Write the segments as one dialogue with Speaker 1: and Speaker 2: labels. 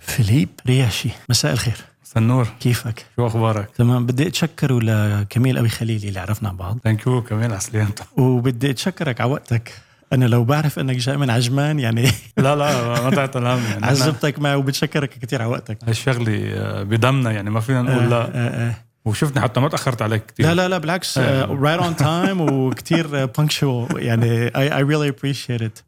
Speaker 1: فيليب رياشي مساء الخير
Speaker 2: مساء النور
Speaker 1: كيفك؟
Speaker 2: شو اخبارك؟
Speaker 1: تمام بدي اتشكره لكميل ابي خليل اللي عرفنا عن بعض
Speaker 2: ثانك يو كمان على سلامتك
Speaker 1: وبدي اتشكرك على وقتك انا لو بعرف انك جاي من عجمان يعني
Speaker 2: لا لا ما تعطى الهم يعني
Speaker 1: عزبتك معي وبتشكرك كثير على وقتك
Speaker 2: هالشغله بدمنا يعني ما فينا نقول لا
Speaker 1: آه، آه.
Speaker 2: وشفنا حتى ما تاخرت عليك كثير
Speaker 1: لا لا لا بالعكس
Speaker 2: آه.
Speaker 1: آه، رايت اون تايم وكثير بانكشوال يعني اي اي ريلي ابريشيت ات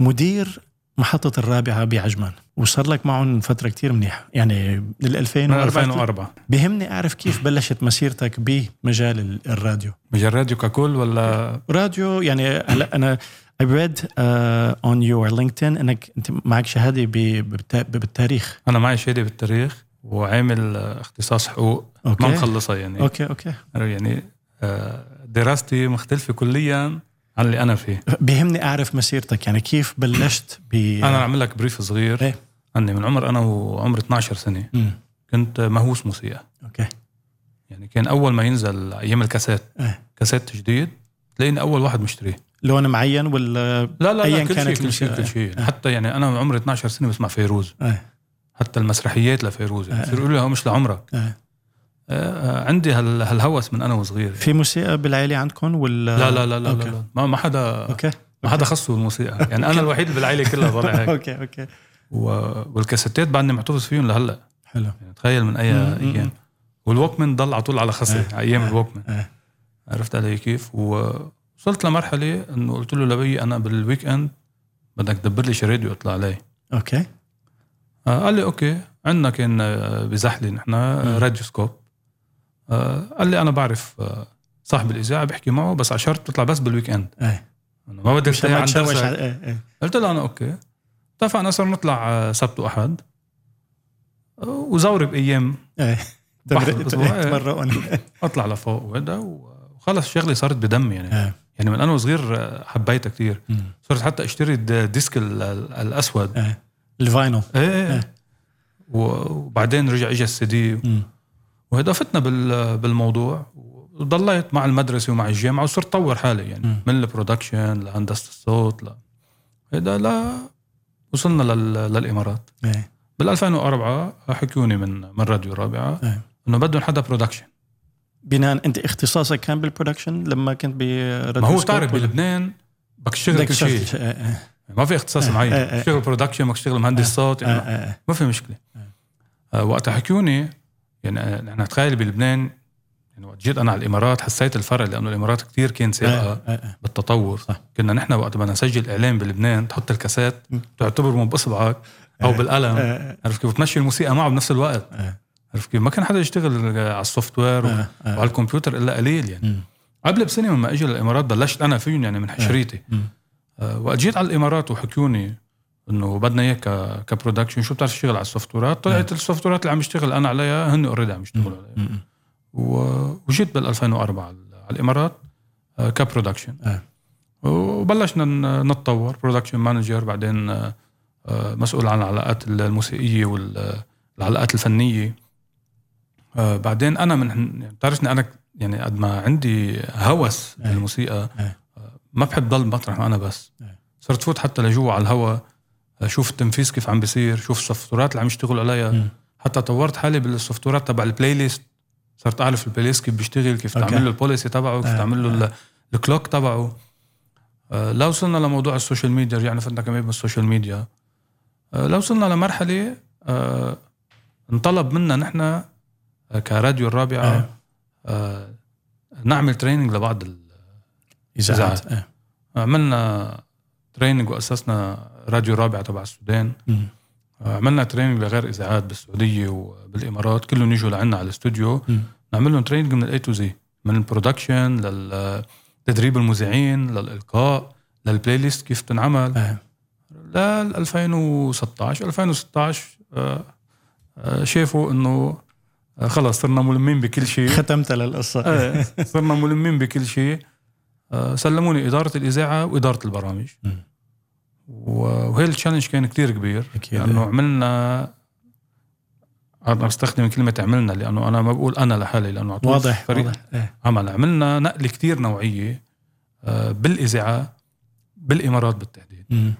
Speaker 1: مدير محطة الرابعة بعجمان وصار لك معهم فترة كتير منيحة يعني لل 2004
Speaker 2: 2004
Speaker 1: بهمني أعرف كيف بلشت مسيرتك بمجال ال- الراديو
Speaker 2: مجال راديو ككل ولا
Speaker 1: راديو يعني هلا أنا I read uh, on your LinkedIn انك انت معك شهاده ب- بالت- بالتاريخ
Speaker 2: انا معي شهاده بالتاريخ وعامل آه، اختصاص حقوق ما
Speaker 1: اوكي
Speaker 2: مخلصها يعني
Speaker 1: اوكي اوكي
Speaker 2: يعني آه، دراستي مختلفه كليا عن اللي انا فيه
Speaker 1: بهمني اعرف مسيرتك يعني كيف بلشت ب
Speaker 2: انا اعمل لك بريف صغير
Speaker 1: إيه.
Speaker 2: عني من عمر انا وعمر 12 سنه
Speaker 1: مم.
Speaker 2: كنت مهووس موسيقى
Speaker 1: اوكي
Speaker 2: يعني كان اول ما ينزل ايام الكاسات
Speaker 1: إيه.
Speaker 2: كاسات جديد تلاقيني اول واحد مشتريه
Speaker 1: لون معين ولا
Speaker 2: لا لا
Speaker 1: أياً
Speaker 2: لا كل شيء
Speaker 1: كانت
Speaker 2: كل شيء
Speaker 1: الموسيقى.
Speaker 2: كل شيء
Speaker 1: إيه.
Speaker 2: حتى يعني انا عمري 12 سنه بسمع فيروز
Speaker 1: إيه.
Speaker 2: حتى المسرحيات لفيروز يعني
Speaker 1: إيه.
Speaker 2: بصيروا يقولوا لي هو مش لعمرك
Speaker 1: إيه.
Speaker 2: آه، آه، عندي هال- هالهوس من انا وصغير
Speaker 1: في موسيقى بالعائله عندكم ولا
Speaker 2: لا لا لا لا, لا,
Speaker 1: أوكي.
Speaker 2: لا. ما ما حدا
Speaker 1: اوكي
Speaker 2: ما حدا خصه الموسيقى يعني انا الوحيد اللي بالعائله كلها طالع هيك
Speaker 1: اوكي اوكي
Speaker 2: و- والكاسيتات بعدني محتفظ فيهم لهلا
Speaker 1: حلو
Speaker 2: يعني تخيل من اي
Speaker 1: مم، مم،
Speaker 2: ايام والووكمان ضل على طول على خصري
Speaker 1: إيه،
Speaker 2: على ايام
Speaker 1: إيه،
Speaker 2: الووكمان
Speaker 1: إيه.
Speaker 2: عرفت علي كيف ووصلت لمرحله انه قلت له لبي انا بالويك اند بدك تدبر لي شي راديو اطلع علي
Speaker 1: اوكي
Speaker 2: آه، قال لي اوكي عندنا كان آه، بزحله نحن آه،
Speaker 1: مم.
Speaker 2: راديو سكوب آه، قال لي انا بعرف آه، صاحب الاذاعه بحكي معه بس على شرط تطلع بس بالويك اند
Speaker 1: ايه
Speaker 2: أنا ما بدي
Speaker 1: مش ما
Speaker 2: عن
Speaker 1: تشوش
Speaker 2: درسك.
Speaker 1: على- إيه، إيه.
Speaker 2: قلت له انا اوكي اتفقنا صرنا نطلع آه، سبت واحد آه، وزوري بايام
Speaker 1: إيه.
Speaker 2: بحضر
Speaker 1: تمر-
Speaker 2: بالأسبوع، إيه.
Speaker 1: تمرقون
Speaker 2: اطلع لفوق وهيدا وخلص شغلي صارت بدمي يعني
Speaker 1: إيه.
Speaker 2: يعني من انا وصغير آه، حبيتها كثير
Speaker 1: مم.
Speaker 2: صرت حتى اشتري الد- ديسك ال- ال- الاسود
Speaker 1: إيه. الفاينل
Speaker 2: ايه
Speaker 1: إيه.
Speaker 2: ايه و- وبعدين رجع اجى السي دي
Speaker 1: مم.
Speaker 2: وهيدا فتنا بال- بالموضوع وضليت مع المدرسه ومع الجامعه وصرت طور حالي يعني
Speaker 1: مم.
Speaker 2: من البرودكشن لهندسه الصوت ل هيدا لا وصلنا لل- للامارات
Speaker 1: إيه.
Speaker 2: بال 2004 حكوني من من راديو الرابعه
Speaker 1: إيه.
Speaker 2: انه بدهم حدا برودكشن
Speaker 1: بناء انت اختصاصك كان بالبرودكشن لما كنت ب
Speaker 2: ما هو بتعرف بلبنان بدك تشتغل كل شيء
Speaker 1: إيه،
Speaker 2: ما في اختصاص
Speaker 1: آه،
Speaker 2: معين
Speaker 1: آه، آه.
Speaker 2: بشتغل برودكشن بدك تشتغل مهندس صوت
Speaker 1: إيه،
Speaker 2: يعني ما في مشكله آه، وقتها حكوني يعني آه، نحن تخيل بلبنان يعني وقت جيت انا على الامارات حسيت الفرق لانه الامارات كتير كان سابقه
Speaker 1: آه،
Speaker 2: بالتطور
Speaker 1: إيه. صح.
Speaker 2: كنا نحن وقت بدنا نسجل اعلان بلبنان تحط الكاسات
Speaker 1: م.
Speaker 2: تعتبرهم باصبعك او
Speaker 1: آه،
Speaker 2: بالقلم عرفت كيف بتمشي الموسيقى معه بنفس الوقت
Speaker 1: إيه.
Speaker 2: عرفت كيف ما كان حدا يشتغل آه، على السوفت وير و-
Speaker 1: آه.
Speaker 2: وعلى الكمبيوتر الا قليل يعني قبل بسنه لما اجي للامارات بلشت انا فيهم يعني
Speaker 1: إيه.
Speaker 2: من حشريتي آه، وقت جيت على الامارات وحكوني انه بدنا اياك ك- كبرودكشن شو بتعرف تشتغل على السوفتورات طلعت السوفتورات اللي عم يشتغل انا عليها هن اوريدي عم يشتغلوا عليها و- وجيت بال 2004 على على الامارات آه، كبرودكشن
Speaker 1: آه.
Speaker 2: وبلشنا ن- نتطور برودكشن مانجر بعدين آه، آه، مسؤول عن العلاقات الموسيقيه والعلاقات الفنيه آه، بعدين انا من بتعرفني انا يعني قد ما عندي هوس
Speaker 1: آه.
Speaker 2: بالموسيقى
Speaker 1: آه.
Speaker 2: آه، ما بحب ضل مطرح انا بس
Speaker 1: آه.
Speaker 2: صرت فوت حتى لجوا على الهوا آه، شوف التنفيذ كيف عم بيصير شوف السوفتورات اللي عم يشتغلوا عليها حتى طورت حالي بالسوفتورات تبع البلاي ليست صرت اعرف البلاي ليست كيف بيشتغل كيف
Speaker 1: أوكي.
Speaker 2: تعمل له البوليسي تبعه كيف
Speaker 1: آه،
Speaker 2: تعمل له ال- الكلوك تبعه آه، لو وصلنا لموضوع السوشيال ميديا رجعنا فتنا كمان بالسوشيال ميديا آه، لو وصلنا لمرحله آه، انطلب منا نحن آه، كراديو
Speaker 1: آه.
Speaker 2: الرابعه آه، نعمل تريننج لبعض ال-
Speaker 1: اذاعات
Speaker 2: عملنا تريننج واسسنا راديو رابعه تبع السودان آه،
Speaker 1: مم.
Speaker 2: عملنا تريننج لغير اذاعات بالسعوديه وبالامارات كلهم يجوا لعنا على الاستوديو
Speaker 1: مم.
Speaker 2: نعمل لهم تريننج من الاي تو زي من البرودكشن للتدريب المذيعين للالقاء للبلاي ليست كيف تنعمل
Speaker 1: آه.
Speaker 2: لل 2016 2016 آه، آه، شافوا انه آه، خلص صرنا ملمين بكل شيء
Speaker 1: ختمت للقصه
Speaker 2: آه، صرنا ملمين بكل شيء آه، سلموني اداره الاذاعه واداره البرامج
Speaker 1: مم.
Speaker 2: و- وهي التشالنج كان كتير كبير
Speaker 1: اكيد
Speaker 2: لانه عملنا انا بستخدم كلمه عملنا لانه انا ما بقول انا لحالي لانه عطول
Speaker 1: واضح
Speaker 2: فريق
Speaker 1: واضح إيه.
Speaker 2: عمل عملنا نقله كتير نوعيه آه، بالاذاعه بالامارات بالتحديد
Speaker 1: مم.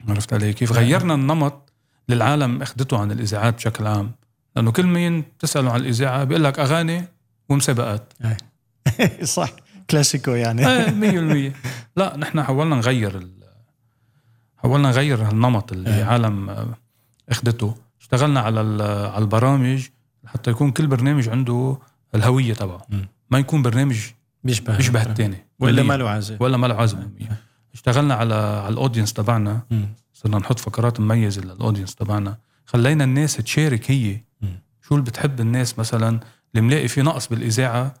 Speaker 1: نعم.
Speaker 2: عرفت علي كيف غيرنا النمط للعالم اخذته عن الاذاعات بشكل عام لانه كل مين تساله عن الاذاعه بيقول لك اغاني ومسابقات
Speaker 1: صح كلاسيكو يعني
Speaker 2: ايه 100% لا نحن حاولنا نغير ال... حاولنا نغير هالنمط
Speaker 1: إيه.
Speaker 2: اللي العالم اخذته اشتغلنا على ال... على البرامج حتى يكون كل برنامج عنده الهويه تبعه
Speaker 1: مم.
Speaker 2: ما يكون برنامج
Speaker 1: بيشبه آه.
Speaker 2: بيشبه الثاني
Speaker 1: ولا ما له عازل
Speaker 2: ولا ما له عزمه
Speaker 1: آه.
Speaker 2: اشتغلنا على على الاودينس تبعنا
Speaker 1: مم.
Speaker 2: صرنا نحط فقرات مميزه للاودينس تبعنا خلينا الناس تشارك هي
Speaker 1: مم.
Speaker 2: شو اللي بتحب الناس مثلا اللي ملاقي في نقص بالاذاعه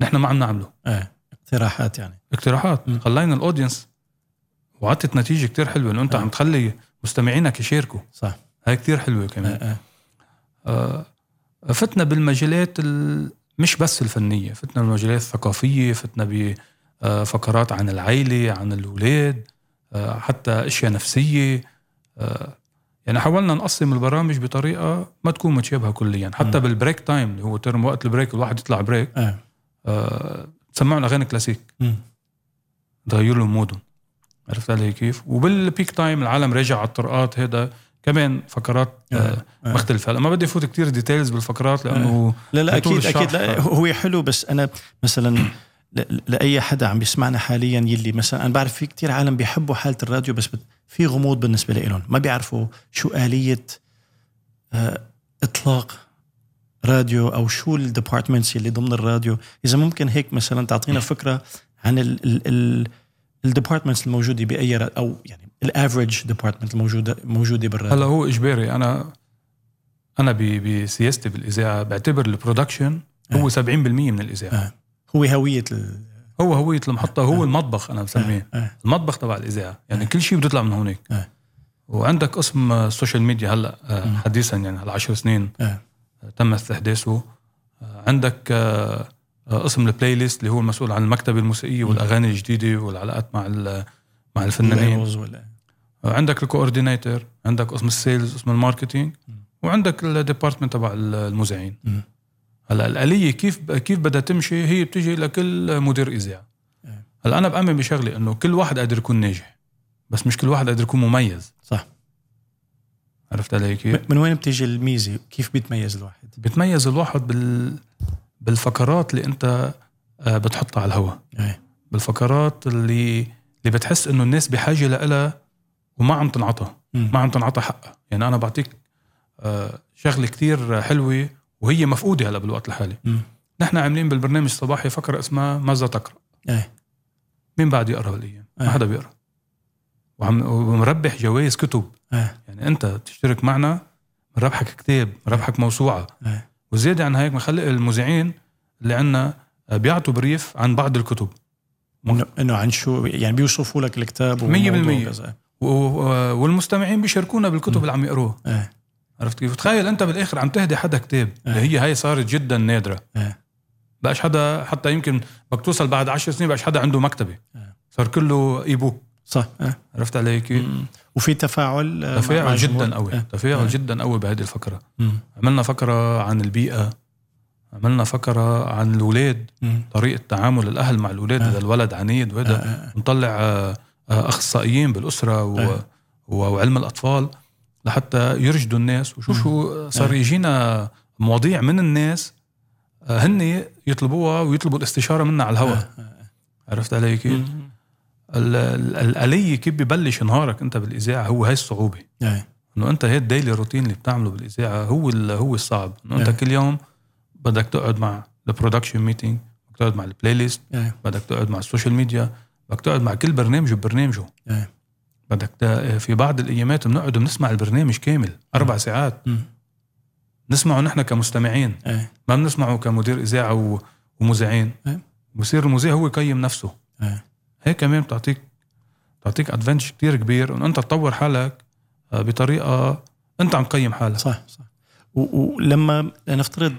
Speaker 2: نحن ما عم نعمله
Speaker 1: ايه اقتراحات يعني
Speaker 2: اقتراحات
Speaker 1: مم.
Speaker 2: خلينا الاودينس وعطت نتيجه كتير حلوه انه انت
Speaker 1: آه.
Speaker 2: عم تخلي مستمعينك يشاركوا
Speaker 1: صح
Speaker 2: هاي كتير حلوه كمان
Speaker 1: آه، آه.
Speaker 2: آه، فتنا بالمجالات ال- مش بس الفنيه فتنا بالمجالات الثقافيه فتنا بفقرات آه، عن العيله عن الاولاد آه، حتى اشياء نفسيه آه، يعني حاولنا نقسم البرامج بطريقه ما تكون متشابهه كليا حتى
Speaker 1: مم.
Speaker 2: بالبريك تايم اللي هو ترم وقت البريك الواحد يطلع بريك
Speaker 1: آه.
Speaker 2: آه، سمعنا اغاني كلاسيك
Speaker 1: مم.
Speaker 2: تغير لهم مودهم عرفت علي كيف؟ وبالبيك تايم العالم راجع على الطرقات هذا كمان فقرات آه،
Speaker 1: آه.
Speaker 2: مختلفه هلا ما بدي فوت كتير ديتيلز بالفقرات لانه
Speaker 1: لا لا
Speaker 2: بطول
Speaker 1: اكيد اكيد
Speaker 2: الشرح.
Speaker 1: لا هو حلو بس انا مثلا ل- لاي حدا عم بيسمعنا حاليا يلي مثلا انا بعرف في كتير عالم بيحبوا حاله الراديو بس بت- في غموض بالنسبه لهم ما بيعرفوا شو اليه آه، اطلاق راديو او شو الديبارتمنتس اللي ضمن الراديو اذا ممكن هيك مثلا تعطينا فكره عن ال ال ال الديبارتمنتس الموجوده باي را- او يعني الافريج ديبارتمنت الموجوده موجوده بالراديو
Speaker 2: هلا هو اجباري انا انا ب- بسياستي بالاذاعه بعتبر البرودكشن هو 70% من الاذاعه
Speaker 1: آه. هو هويه ال
Speaker 2: هو هويه المحطه هو المطبخ انا مسميه
Speaker 1: آه. آه.
Speaker 2: المطبخ تبع الاذاعه يعني كل شيء بده يطلع من هونيك
Speaker 1: آه.
Speaker 2: وعندك قسم آه، السوشيال ميديا هلا آه،
Speaker 1: مم.
Speaker 2: حديثا يعني هلا 10 سنين
Speaker 1: آه.
Speaker 2: آه، تم استحداثه آه، عندك آه، آه، قسم البلاي ليست اللي هو المسؤول عن المكتبه الموسيقيه
Speaker 1: مم.
Speaker 2: والاغاني الجديده والعلاقات مع ال- مع الفنانين
Speaker 1: labels ولا
Speaker 2: عندك الكوردينيتر عندك قسم السيلز قسم الماركتينج
Speaker 1: مم.
Speaker 2: وعندك الديبارتمنت تبع المذيعين
Speaker 1: مم.
Speaker 2: هلا الاليه كيف كيف بدها تمشي هي بتجي لكل مدير اذاعه
Speaker 1: إيه.
Speaker 2: هلا انا بامن بشغله انه كل واحد قادر يكون ناجح بس مش كل واحد قادر يكون مميز
Speaker 1: صح
Speaker 2: عرفت علي كيف؟
Speaker 1: من وين بتيجي الميزه كيف بيتميز الواحد
Speaker 2: بتميز الواحد بال بالفقرات اللي انت آه، بتحطها على الهواء
Speaker 1: إيه.
Speaker 2: بالفقرات اللي اللي بتحس انه الناس بحاجه لها وما عم تنعطى ما عم تنعطى حقها يعني انا بعطيك آه، شغله كتير حلوه وهي مفقوده هلا بالوقت الحالي
Speaker 1: مم.
Speaker 2: نحن عاملين بالبرنامج الصباحي فقره اسمها ماذا تقرا
Speaker 1: إيه.
Speaker 2: مين بعد يقرا هالايام ما
Speaker 1: إيه.
Speaker 2: حدا بيقرا وعم ومربح جوائز كتب
Speaker 1: إيه.
Speaker 2: يعني انت تشترك معنا مربحك كتاب مربحك موسوعه
Speaker 1: إيه.
Speaker 2: وزيادة عن هيك بنخلي المذيعين اللي عنا آه، بيعطوا بريف عن بعض الكتب
Speaker 1: انه انه عن شو يعني بيوصفوا لك الكتاب
Speaker 2: مية بالمية.
Speaker 1: وكذا
Speaker 2: و- و- والمستمعين بيشاركونا بالكتب اللي عم يقروها
Speaker 1: إيه.
Speaker 2: عرفت كيف؟ تخيل انت بالاخر عم تهدي حدا كتاب اللي هي هاي صارت جدا نادره
Speaker 1: إيه.
Speaker 2: بقاش حدا حتى يمكن بدك توصل بعد عشر سنين بقاش حدا عنده مكتبه
Speaker 1: إيه.
Speaker 2: صار كله اي بوك
Speaker 1: صح إيه.
Speaker 2: عرفت علي كيف؟
Speaker 1: مم. وفي تفاعل آه، مع- مع
Speaker 2: تفاعل
Speaker 1: الجمهور.
Speaker 2: جدا قوي
Speaker 1: إيه.
Speaker 2: تفاعل
Speaker 1: إيه.
Speaker 2: جدا قوي بهذه الفقره
Speaker 1: مم.
Speaker 2: عملنا فقره عن البيئه عملنا فقره عن الاولاد
Speaker 1: مم.
Speaker 2: طريقه تعامل الاهل مع الاولاد
Speaker 1: إيه.
Speaker 2: اذا الولد عنيد
Speaker 1: آه،
Speaker 2: وهذا
Speaker 1: آه، آه.
Speaker 2: نطلع آه، آه، اخصائيين بالاسره و...
Speaker 1: إيه.
Speaker 2: و... وعلم الاطفال لحتى يرشدوا الناس وشو شو صار
Speaker 1: إيه.
Speaker 2: يجينا مواضيع من الناس آه، هن يطلبوها ويطلبوا الاستشاره منا على الهواء
Speaker 1: آه، آه.
Speaker 2: عرفت علي كيف؟
Speaker 1: مم.
Speaker 2: ال- ال- الاليه كيف ببلش نهارك انت بالاذاعه هو هاي الصعوبه
Speaker 1: إيه.
Speaker 2: انه انت هي الديلي روتين اللي بتعمله بالاذاعه هو ال- هو الصعب انه انت
Speaker 1: إيه.
Speaker 2: كل يوم بدك تقعد مع البرودكشن ميتينج بدك تقعد مع البلاي ليست
Speaker 1: إيه.
Speaker 2: بدك تقعد مع السوشيال ميديا بدك تقعد مع كل برنامج ببرنامجه
Speaker 1: إيه.
Speaker 2: بدك تا- في بعض الايامات بنقعد بنسمع البرنامج كامل اربع ساعات
Speaker 1: مم.
Speaker 2: نسمعه نحن كمستمعين
Speaker 1: إيه.
Speaker 2: ما بنسمعه كمدير اذاعه و- ومذيعين
Speaker 1: إيه.
Speaker 2: بصير المذيع هو يقيم نفسه
Speaker 1: إيه.
Speaker 2: هيك كمان بتعطيك بتعطيك ادفانتج كتير كبير انه انت تطور حالك آه، بطريقه انت عم تقيم حالك
Speaker 1: صح صح و- ولما نفترض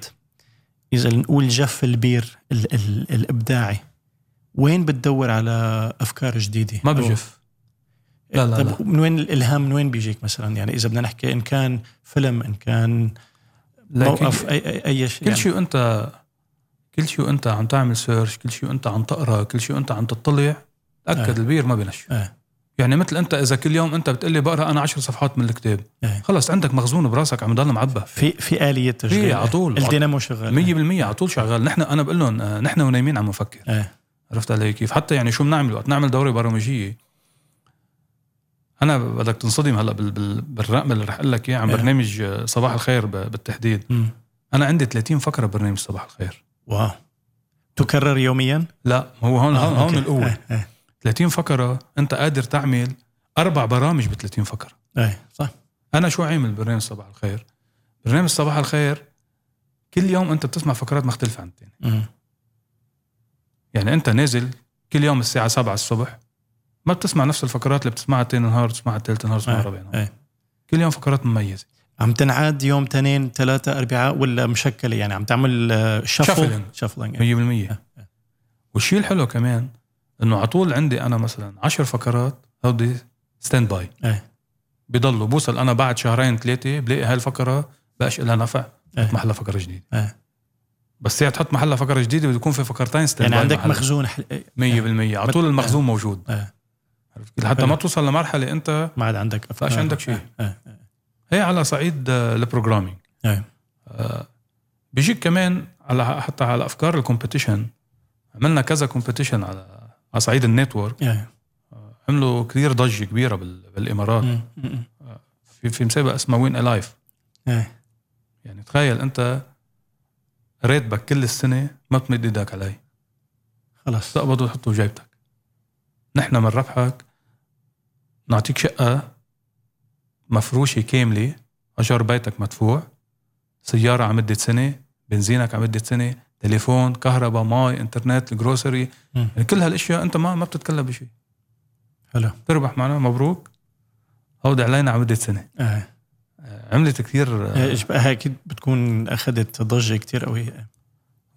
Speaker 1: اذا نقول جف البير ال ال الابداعي وين بتدور على افكار جديده؟
Speaker 2: ما
Speaker 1: أو-
Speaker 2: بجف لا، لا،
Speaker 1: طب
Speaker 2: لا.
Speaker 1: من وين الالهام من وين بيجيك مثلا يعني اذا بدنا نحكي ان كان فيلم ان كان
Speaker 2: لكن
Speaker 1: موقف اي اي, أي شيء
Speaker 2: كل
Speaker 1: يعني.
Speaker 2: شيء انت كل شيء انت عم تعمل سيرش كل شيء انت عم تقرا كل شيء انت عم تطلع تاكد
Speaker 1: آه.
Speaker 2: البير ما بنشف
Speaker 1: آه.
Speaker 2: يعني مثل انت اذا كل يوم انت بتقول لي بقرا انا عشر صفحات من الكتاب
Speaker 1: إيه.
Speaker 2: خلص عندك مخزون براسك عم يضل معبى
Speaker 1: في في اليه تشغيل
Speaker 2: في على طول.
Speaker 1: الدينامو شغال
Speaker 2: 100% على طول شغال نحن انا بقول لهم آه، نحن ونايمين عم نفكر
Speaker 1: إيه.
Speaker 2: عرفت علي كيف حتى يعني شو بنعمل وقت نعمل دوره برامجيه انا بدك تنصدم هلا بال- بال- بالرقم اللي رح اقول لك اياه عن
Speaker 1: إيه.
Speaker 2: برنامج آه، صباح الخير ب- بالتحديد
Speaker 1: مم.
Speaker 2: انا عندي 30 فقره برنامج صباح الخير
Speaker 1: واو تكرر يوميا
Speaker 2: لا هو هون نعم، هون,
Speaker 1: آه،
Speaker 2: هون
Speaker 1: أوكي.
Speaker 2: القوه
Speaker 1: إيه، إيه،
Speaker 2: 30 فقره انت قادر تعمل اربع برامج ب 30 فقره
Speaker 1: إيه، صح
Speaker 2: انا شو عامل برنامج صباح الخير برنامج صباح الخير كل يوم انت بتسمع فقرات مختلفه عن الثاني
Speaker 1: مم.
Speaker 2: يعني انت نازل كل يوم الساعه 7 الصبح ما بتسمع نفس الفقرات اللي بتسمعها تاني نهار بتسمعها تالت نهار بتسمعها
Speaker 1: إيه،
Speaker 2: رابع نهار
Speaker 1: إيه.
Speaker 2: كل يوم فقرات مميزه
Speaker 1: عم تنعاد يوم تنين ثلاثة أربعاء ولا مشكلة يعني عم تعمل آه، يعني شفل
Speaker 2: Shuffling.
Speaker 1: شفلنج
Speaker 2: 100% والشيء الحلو كمان انه على طول عندي انا مثلا 10 فقرات هودي ستاند باي
Speaker 1: إيه.
Speaker 2: بضلوا بوصل انا بعد شهرين ثلاثه بلاقي هالفقره بقاش لها نفع
Speaker 1: إيه.
Speaker 2: بحط محلها فقره جديده
Speaker 1: إيه.
Speaker 2: بس هي تحط محلها فقره جديده بده يكون في فقرتين ستاند
Speaker 1: يعني
Speaker 2: باي
Speaker 1: عندك
Speaker 2: محلها.
Speaker 1: مخزون حل... إيه،
Speaker 2: 100% على طول المخزون موجود
Speaker 1: إيه.
Speaker 2: عرفت كيف؟ حتى ما توصل لمرحله انت
Speaker 1: ما عاد عندك أفكار.
Speaker 2: فاش عندك شيء.
Speaker 1: إيه، إيه،
Speaker 2: هي على صعيد آه، البروجرامينج
Speaker 1: إيه.
Speaker 2: آه، بيجيك كمان على حتى على افكار الكومبيتيشن عملنا كذا كومبيتيشن على على صعيد النتورك
Speaker 1: إيه.
Speaker 2: آه، عملوا كثير ضجه كبيره بال- بالامارات
Speaker 1: مم، مم،
Speaker 2: في في مسابقه اسمها وين الايف
Speaker 1: إيه.
Speaker 2: يعني تخيل انت راتبك كل السنه ما بتمد ايدك عليه
Speaker 1: خلص
Speaker 2: تقبضه وتحطه بجيبتك نحن من ربحك نعطيك شقة مفروشة كاملة أجر بيتك مدفوع سيارة على مدة سنة بنزينك على مدة سنة تليفون كهرباء مي انترنت الجروسري
Speaker 1: مم.
Speaker 2: يعني كل هالاشياء انت ما ما بتتكلم بشيء
Speaker 1: حلو
Speaker 2: تربح معنا مبروك هودي علينا على مدة سنة
Speaker 1: إيه.
Speaker 2: عملت كثير
Speaker 1: إيه، إيش بقى، اكيد بتكون اخذت ضجه كتير قويه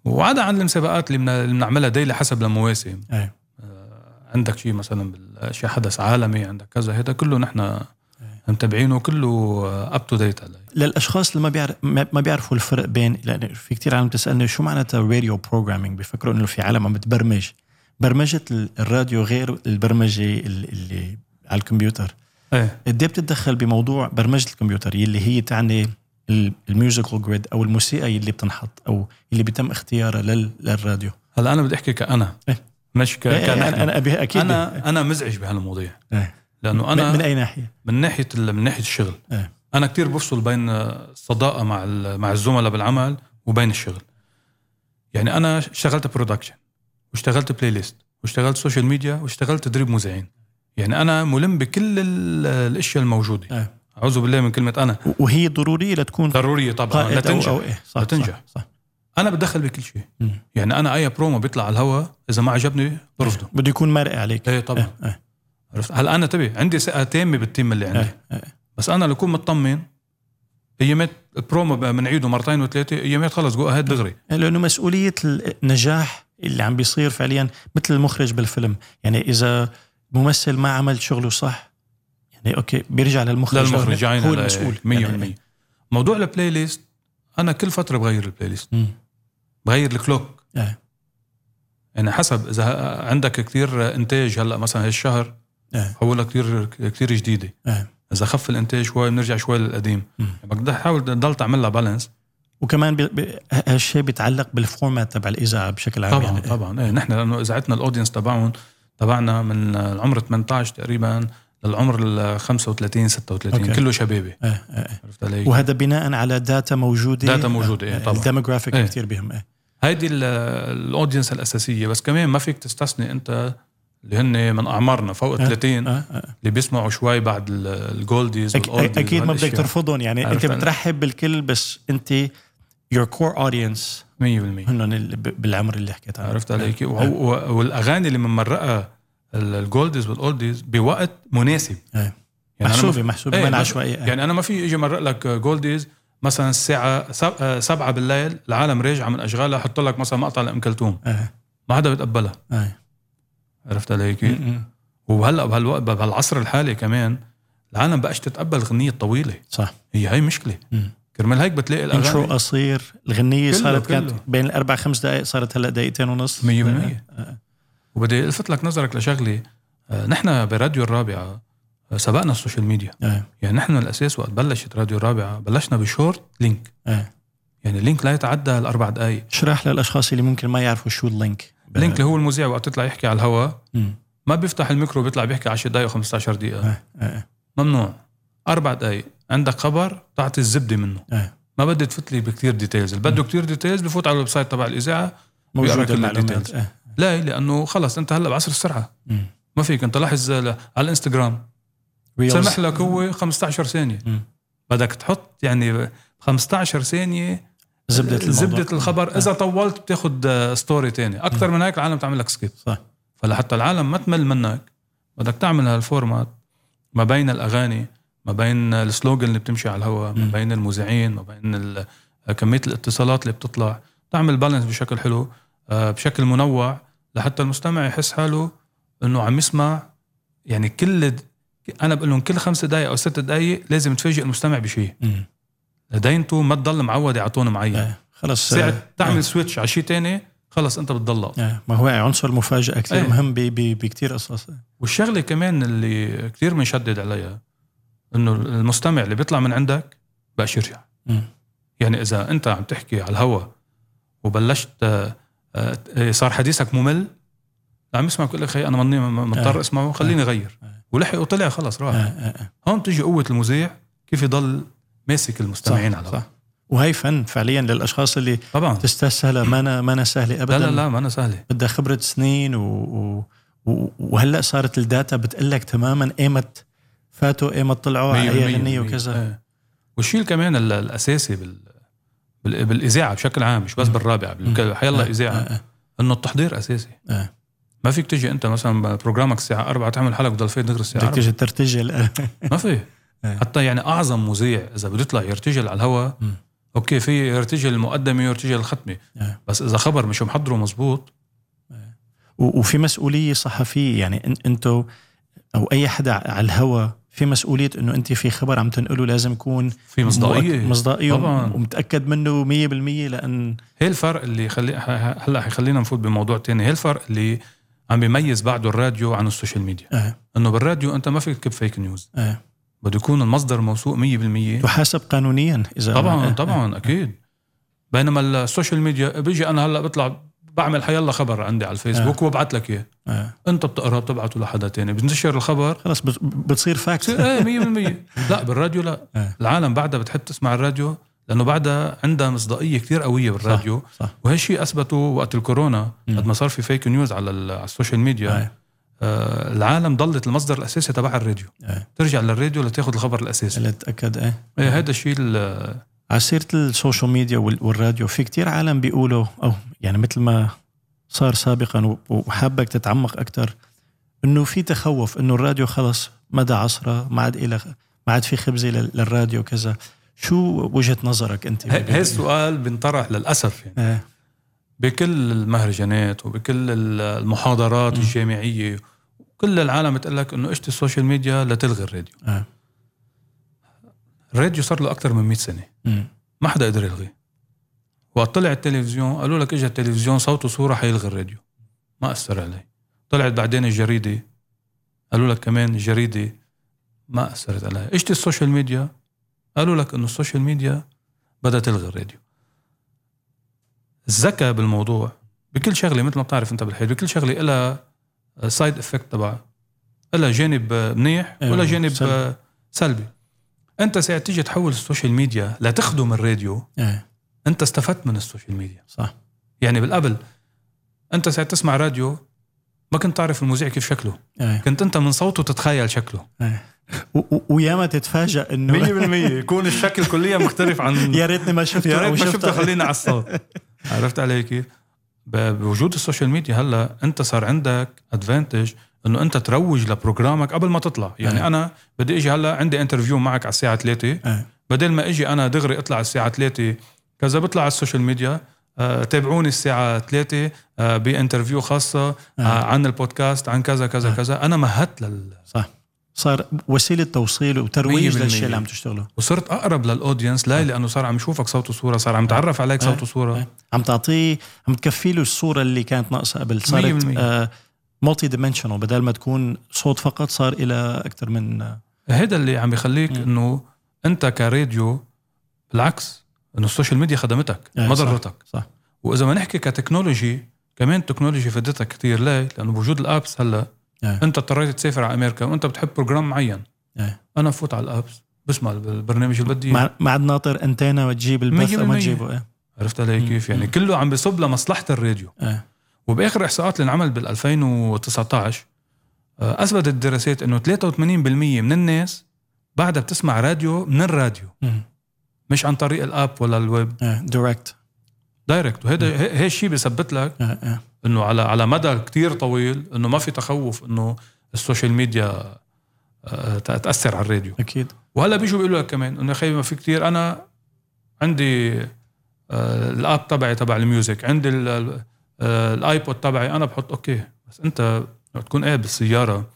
Speaker 2: وعدا عن المسابقات اللي بن- اللي بنعملها ديلي حسب المواسم
Speaker 1: إيه.
Speaker 2: آه، عندك شيء مثلا بال- شيء حدث عالمي عندك كذا هذا كله نحن متابعينه كله آه، اب تو ديت
Speaker 1: للاشخاص اللي ما بيعرف ما ما بيعرفوا الفرق بين لان في كتير عالم تسالني شو معناتها راديو بروجرامينج بيفكروا انه في عالم عم بتبرمج برمجه ال- الراديو غير البرمجه ال- اللي على الكمبيوتر
Speaker 2: ايه
Speaker 1: قد إيه بتتدخل بموضوع برمجه الكمبيوتر يلي هي تعني ال- الميوزيكال جريد او الموسيقى يلي بتنحط او اللي بيتم اختيارها لل- للراديو
Speaker 2: هلا انا بدي احكي كانا
Speaker 1: إيه.
Speaker 2: مش ك...
Speaker 1: إيه،
Speaker 2: كنحن.
Speaker 1: انا انا أبي- اكيد
Speaker 2: انا انا مزعج بهالمواضيع
Speaker 1: إيه.
Speaker 2: لانه
Speaker 1: من,
Speaker 2: انا
Speaker 1: من
Speaker 2: من,
Speaker 1: اي ناحيه
Speaker 2: من ناحيه ال... من ناحيه الشغل
Speaker 1: إيه.
Speaker 2: انا كتير بفصل بين الصداقه مع ال... مع الزملاء بالعمل وبين الشغل يعني انا اشتغلت برودكشن واشتغلت بلاي ليست واشتغلت سوشيال ميديا واشتغلت تدريب مذيعين يعني انا ملم بكل ال... الاشياء الموجوده
Speaker 1: إيه.
Speaker 2: اعوذ بالله من كلمه انا
Speaker 1: و- وهي ضروريه لتكون
Speaker 2: ضروريه طبعا
Speaker 1: قائد او
Speaker 2: لتنجح
Speaker 1: او ايه صح
Speaker 2: لتنجح.
Speaker 1: صح, صح.
Speaker 2: انا بتدخل بكل شيء
Speaker 1: مم.
Speaker 2: يعني انا اي برومو بيطلع على الهواء اذا ما عجبني برفضه
Speaker 1: بده يكون مرئي عليك
Speaker 2: ايه طبعا
Speaker 1: إيه، إيه.
Speaker 2: عرفت هلا انا تبي عندي ثقه تامه بالتيم اللي عندي
Speaker 1: إيه، إيه.
Speaker 2: بس انا لكون مطمن ايامات البرومو بقى بنعيده مرتين وثلاثه ايامات خلص جو اهيد دغري
Speaker 1: لانه مسؤوليه النجاح اللي عم بيصير فعليا مثل المخرج بالفيلم يعني اذا ممثل ما عمل شغله صح يعني اوكي بيرجع للمخرج
Speaker 2: للمخرج
Speaker 1: هو,
Speaker 2: عينه
Speaker 1: هو المسؤول
Speaker 2: 100% يعني موضوع البلاي ليست انا كل فتره بغير البلاي ليست
Speaker 1: مم.
Speaker 2: بغير الكلوك
Speaker 1: إيه.
Speaker 2: يعني حسب اذا ه- عندك كثير انتاج هلا مثلا هالشهر
Speaker 1: إيه.
Speaker 2: حولها كثير كثير جديده
Speaker 1: إيه.
Speaker 2: اذا خف الانتاج شوي بنرجع شوي للقديم يعني
Speaker 1: مم.
Speaker 2: بدك تحاول تضل تعمل لها بالانس
Speaker 1: وكمان بي... بي... هالشيء بيتعلق بالفورمات تبع الاذاعه بشكل عام
Speaker 2: طبعا
Speaker 1: يعني.
Speaker 2: طبعا ايه نحن لانه اذاعتنا الاودينس تبعهم تبعنا من العمر 18 تقريبا للعمر ال 35 36
Speaker 1: أوكي.
Speaker 2: أوكي. كله شبابي
Speaker 1: إيه، إيه، إيه.
Speaker 2: عرفت علي؟
Speaker 1: وهذا بناء على داتا موجوده
Speaker 2: داتا موجودة، إيه، طبعاً.
Speaker 1: الديموغرافيك
Speaker 2: إيه.
Speaker 1: كثير بهم إيه.
Speaker 2: هيدي ال- الاودينس الاساسيه بس كمان ما فيك تستثني انت اللي هن من اعمارنا فوق
Speaker 1: أه.
Speaker 2: 30
Speaker 1: آه، آه.
Speaker 2: اللي بيسمعوا شوي بعد ال- الجولديز
Speaker 1: أك...
Speaker 2: والأولديز
Speaker 1: اكيد ما بدك
Speaker 2: وهالأشياء.
Speaker 1: ترفضهم يعني انت
Speaker 2: عرفت أنا.
Speaker 1: بترحب بالكل بس انت يور كور اودينس
Speaker 2: 100%
Speaker 1: هن اللي ب- بالعمر اللي حكيت عنه آه.
Speaker 2: عرفت علي؟ يعني وهو- و- والاغاني اللي بنمرقها ال- الجولديز والاولديز بوقت مناسب يعني
Speaker 1: إيه.
Speaker 2: أنا ما
Speaker 1: محسوبه محسوبه
Speaker 2: إيه،
Speaker 1: من
Speaker 2: بس-
Speaker 1: عشوائيه يعني
Speaker 2: يعني انا ما في اجي مرق لك آه، جولديز مثلا الساعه سب- آه، سبعة بالليل العالم راجعه من اشغالها حط لك مثلا مقطع لام كلثوم
Speaker 1: ايه
Speaker 2: ما حدا بيتقبلها
Speaker 1: ايه
Speaker 2: عرفت علي كيف؟
Speaker 1: م- م.
Speaker 2: وهلا بهالوقت بهالعصر الحالي كمان العالم بقاش تتقبل الغنيه الطويله
Speaker 1: صح
Speaker 2: هي هي مشكله
Speaker 1: مم.
Speaker 2: كرمال هيك بتلاقي
Speaker 1: انترو
Speaker 2: الاغاني
Speaker 1: قصير الغنيه
Speaker 2: كله-
Speaker 1: صارت كانت
Speaker 2: كله.
Speaker 1: بين الاربع خمس دقائق صارت هلا دقيقتين ونص
Speaker 2: 100%
Speaker 1: آه.
Speaker 2: وبدي الفت لك نظرك لشغله آه، نحن براديو الرابعه آه، سبقنا السوشيال ميديا
Speaker 1: ايه
Speaker 2: يعني نحن الاساس وقت بلشت راديو الرابعه بلشنا بشورت لينك
Speaker 1: ايه
Speaker 2: يعني لينك لا يتعدى الاربع دقائق
Speaker 1: اشرح للاشخاص اللي ممكن ما يعرفوا شو اللينك
Speaker 2: لينك اللي هو المذيع وقت تطلع يحكي على الهواء
Speaker 1: مم.
Speaker 2: ما بيفتح الميكرو بيطلع بيحكي 10 دقائق و15 دقيقه
Speaker 1: ايه ايه
Speaker 2: ممنوع اربع دقائق عندك خبر تعطي الزبده منه
Speaker 1: إيه.
Speaker 2: ما بدي تفوت لي بكثير ديتيلز اللي بده كثير ديتيلز بفوت على الويب سايت تبع الاذاعه بيقرأ
Speaker 1: موجود
Speaker 2: كل
Speaker 1: المعلومات
Speaker 2: الديتيلز.
Speaker 1: ايه
Speaker 2: لا لانه خلص انت هلا بعصر السرعه
Speaker 1: مم.
Speaker 2: ما فيك انت لاحظ ل- على الانستغرام
Speaker 1: Reels.
Speaker 2: سمح لك هو 15 ثانيه
Speaker 1: مم.
Speaker 2: بدك تحط يعني 15 ثانيه
Speaker 1: زبده الموضوع. آه. إيه.
Speaker 2: زبده الخبر اذا طولت بتاخد آه، ستوري تاني اكثر من هيك العالم تعمل لك سكيب
Speaker 1: طيب، صح
Speaker 2: فلحتى العالم ما تمل منك بدك تعمل هالفورمات ما بين الاغاني ما بين السلوجن اللي بتمشي على الهواء ما
Speaker 1: مم.
Speaker 2: بين المذيعين ما بين ال- كميه الاتصالات اللي بتطلع تعمل بالانس بشكل حلو آه، بشكل منوع لحتى المستمع يحس حاله انه عم يسمع يعني كل انا بقول لهم كل خمس دقائق او ست دقائق لازم تفاجئ المستمع بشيء
Speaker 1: مم.
Speaker 2: لدينته ما تضل معودة على تون معين
Speaker 1: ايه خلص
Speaker 2: ساعة
Speaker 1: إيه.
Speaker 2: تعمل سويتش على شيء تاني خلص انت بتضلق
Speaker 1: إيه. ما هو عنصر مفاجاه كثير
Speaker 2: إيه.
Speaker 1: مهم ب- ب- آه، بكثير قصص
Speaker 2: والشغله كمان اللي كثير بنشدد عليها انه المستمع اللي بيطلع من عندك بقاش يرجع
Speaker 1: مم.
Speaker 2: يعني اذا انت عم تحكي على الهوا وبلشت آه، آه، صار حديثك ممل عم يسمع يقول لك خي انا ماني م-
Speaker 1: آه.
Speaker 2: مضطر اسمعه خليني اغير
Speaker 1: آه.
Speaker 2: ولحق وطلع خلص
Speaker 1: إيه،
Speaker 2: راح
Speaker 1: إيه، إيه.
Speaker 2: هون بتيجي قوه المذيع كيف يضل ماسك المستمعين على الهوا.
Speaker 1: صح وهي فن فعليا للاشخاص اللي
Speaker 2: طبعا
Speaker 1: تستسهلها ما أنا ما أنا سهله ابدا
Speaker 2: لا لا لا ما انا سهله
Speaker 1: بدها خبره سنين و... و... و- وهلا صارت الداتا بتقول لك تماما ايمت فاتوا ايمت طلعوا على اي غنيه آه، وكذا
Speaker 2: آه. والشيء كمان ال- الاساسي بال بال- بالاذاعه بشكل عام مش بس
Speaker 1: مم.
Speaker 2: بالرابعه بال- حيلا اذاعه
Speaker 1: آه، آه،
Speaker 2: انه التحضير اساسي
Speaker 1: آه.
Speaker 2: ما فيك تجي انت مثلا بروجرامك الساعه 4 تعمل حلقه بضل فيها دغري الساعه
Speaker 1: بدك
Speaker 2: 4
Speaker 1: تجي ترتجل
Speaker 2: ما في
Speaker 1: آه.
Speaker 2: حتى يعني اعظم مذيع اذا بده يطلع يرتجل على الهواء
Speaker 1: مم.
Speaker 2: اوكي في يرتجل المقدمه ويرتجل الختمه
Speaker 1: آه.
Speaker 2: بس اذا خبر مش محضره مزبوط
Speaker 1: و- وفي مسؤوليه صحفيه يعني أن- انتو او اي حدا على الهوا في مسؤوليه انه انت في خبر عم تنقله لازم يكون
Speaker 2: في مصداقيه
Speaker 1: مؤك- مصداقيه
Speaker 2: طبعاً.
Speaker 1: ومتاكد منه 100% لان
Speaker 2: هي الفرق اللي خلي ه- ه- هلا حيخلينا نفوت بموضوع تاني هي الفرق اللي عم بيميز بعده الراديو عن السوشيال ميديا
Speaker 1: آه.
Speaker 2: انه بالراديو انت ما فيك تكب فيك نيوز
Speaker 1: آه.
Speaker 2: بده يكون المصدر موثوق 100%
Speaker 1: تحاسب قانونيا اذا
Speaker 2: طبعا
Speaker 1: آه.
Speaker 2: طبعا اكيد بينما السوشيال ميديا بيجي انا هلا بطلع بعمل حيلا خبر عندي على الفيسبوك وببعث لك اياه
Speaker 1: آه.
Speaker 2: انت بتقرا بتبعته لحدا تاني بتنشر الخبر
Speaker 1: خلص بت- بتصير فاكت
Speaker 2: بتصير ايه 100% لا بالراديو لا
Speaker 1: آه.
Speaker 2: العالم بعدها بتحب تسمع الراديو لانه بعدها عندها مصداقيه كتير قويه بالراديو
Speaker 1: صح.
Speaker 2: وهالشيء اثبته وقت الكورونا
Speaker 1: مم.
Speaker 2: قد ما صار في فيك نيوز على, ال- على السوشيال ميديا
Speaker 1: آه.
Speaker 2: آه العالم ضلت المصدر الاساسي تبعها الراديو
Speaker 1: آه.
Speaker 2: ترجع للراديو لتاخذ الخبر الاساسي
Speaker 1: اللي اتاكد ايه
Speaker 2: إيه، هذا الشيء ال-
Speaker 1: على سيرة السوشيال ميديا وال- والراديو في كتير عالم بيقولوا أو يعني مثل ما صار سابقا و- وحابك تتعمق أكتر إنه في تخوف إنه الراديو خلص مدى عصره ما عاد إلى ما عاد في خبزة لل- للراديو كذا شو وجهة نظرك أنت؟
Speaker 2: ه- هي السؤال بنطرح للاسف يعني
Speaker 1: إيه،
Speaker 2: بكل المهرجانات وبكل ال- المحاضرات
Speaker 1: مم.
Speaker 2: الجامعيه كل العالم بتقول لك انه اشتري السوشيال ميديا لتلغي الراديو
Speaker 1: آه.
Speaker 2: الراديو صار له اكثر من 100 سنه
Speaker 1: أمم،
Speaker 2: ما حدا قدر يلغيه وقت طلع التلفزيون قالوا لك اجى التلفزيون صوت وصوره حيلغي الراديو ما اثر علي طلعت بعدين الجريده قالوا لك كمان الجريده ما اثرت علي اجت السوشيال ميديا قالوا لك انه السوشيال ميديا بدها تلغي الراديو الذكاء بالموضوع بكل شغله مثل ما بتعرف انت بالحياه بكل شغله لها سايد افكت تبعها لها جانب منيح
Speaker 1: أيوة،
Speaker 2: ولا جانب
Speaker 1: سلبي.
Speaker 2: سلبي. سلبي انت ساعه تيجي تحول السوشيال ميديا لتخدم الراديو
Speaker 1: إيه،
Speaker 2: انت استفدت من السوشيال ميديا
Speaker 1: صح
Speaker 2: يعني بالقبل انت ساعه تسمع راديو ما كنت تعرف المذيع كيف شكله
Speaker 1: إيه.
Speaker 2: كنت انت من صوته تتخيل شكله
Speaker 1: و- و- وياما تتفاجأ إنه
Speaker 2: 100% يكون الشكل كليا مختلف عن
Speaker 1: يا ريتني ما شفته
Speaker 2: يا
Speaker 1: أو
Speaker 2: ريت ما
Speaker 1: شفته.
Speaker 2: شفته خلينا على الصوت عرفت علي كيف؟ ب- بوجود السوشيال ميديا هلا انت صار عندك ادفانتج انه انت تروج لبروجرامك قبل ما تطلع، يعني
Speaker 1: أيه.
Speaker 2: انا بدي اجي هلا عندي انترفيو معك على الساعه 3
Speaker 1: إيه،
Speaker 2: بدل ما اجي انا دغري اطلع على الساعه 3 كذا بطلع على السوشيال ميديا آه، تابعوني الساعة 3 آه، بانترفيو خاصة آه، عن البودكاست عن كذا كذا كذا أنا مهدت لل...
Speaker 1: صح صار وسيلة توصيل وترويج
Speaker 2: 100%
Speaker 1: للشيء اللي عم تشتغله
Speaker 2: وصرت أقرب للأودينس لا لأنه صار عم يشوفك صوت وصورة صار عم يتعرف عليك
Speaker 1: نعم.
Speaker 2: صوت وصورة
Speaker 1: عم تعطيه عم تكفي له الصوره اللي كانت ناقصه قبل صارت
Speaker 2: 100%.
Speaker 1: آه مالتي دايمنشنال بدل ما تكون صوت فقط صار الى اكثر من آه،
Speaker 2: هيدا اللي عم يخليك
Speaker 1: مم.
Speaker 2: انه انت كراديو بالعكس انه السوشيال ميديا خدمتك
Speaker 1: إيه،
Speaker 2: ما
Speaker 1: صح،
Speaker 2: ضرتك
Speaker 1: صح.
Speaker 2: واذا ما نحكي كتكنولوجي كمان التكنولوجي فادتك كثير ليه؟ لانه بوجود الابس هلا
Speaker 1: إيه.
Speaker 2: انت اضطريت تسافر على امريكا وانت بتحب بروجرام معين
Speaker 1: إيه.
Speaker 2: انا بفوت على الابس بسمع البرنامج اللي بدي إياه.
Speaker 1: ما ما عاد ناطر انتينا وتجيب البث
Speaker 2: مية
Speaker 1: او ما
Speaker 2: بالمية.
Speaker 1: تجيبه إيه.
Speaker 2: عرفت علي
Speaker 1: مم.
Speaker 2: كيف يعني
Speaker 1: مم.
Speaker 2: كله عم بيصب لمصلحه الراديو
Speaker 1: إيه.
Speaker 2: وباخر احصاءات اللي انعمل بال 2019 آه، اثبتت الدراسات انه 83% من الناس بعدها بتسمع راديو من الراديو
Speaker 1: مم.
Speaker 2: مش عن طريق الاب ولا الويب
Speaker 1: إيه. دايركت
Speaker 2: دايركت وهذا هي الشيء بيثبت لك
Speaker 1: إيه. إيه.
Speaker 2: انه على على مدى كتير طويل انه ما في تخوف انه السوشيال ميديا آه، تاثر على الراديو
Speaker 1: اكيد
Speaker 2: وهلا بيجوا بيقولوا لك كمان انه يا خيي ما في كتير انا عندي آه، الاب تبعي تبع الميوزك عندي ال- ال- آه، الايبود تبعي انا بحط اوكي بس انت لما تكون قاعد بالسياره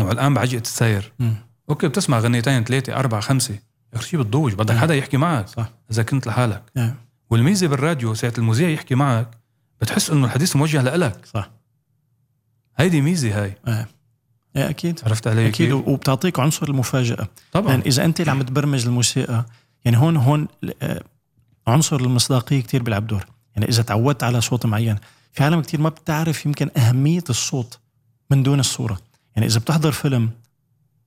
Speaker 2: والان بعجقه السير
Speaker 1: مم.
Speaker 2: اوكي بتسمع غنيتين ثلاثه اربعه خمسه يا اخي شي بتضوج بدك
Speaker 1: نعم.
Speaker 2: حدا يحكي معك
Speaker 1: صح.
Speaker 2: اذا كنت لحالك
Speaker 1: نعم.
Speaker 2: والميزه بالراديو ساعه المذيع يحكي معك بتحس انه الحديث موجه لإلك
Speaker 1: صح.
Speaker 2: هيدي ميزه هاي
Speaker 1: إيه. اكيد
Speaker 2: عرفت علي
Speaker 1: اكيد
Speaker 2: كيف؟
Speaker 1: وبتعطيك عنصر المفاجاه
Speaker 2: طبعا
Speaker 1: يعني اذا انت اللي عم تبرمج الموسيقى يعني هون هون آه، عنصر المصداقيه كتير بيلعب دور يعني اذا تعودت على صوت معين في عالم كتير ما بتعرف يمكن اهميه الصوت من دون الصوره يعني اذا بتحضر فيلم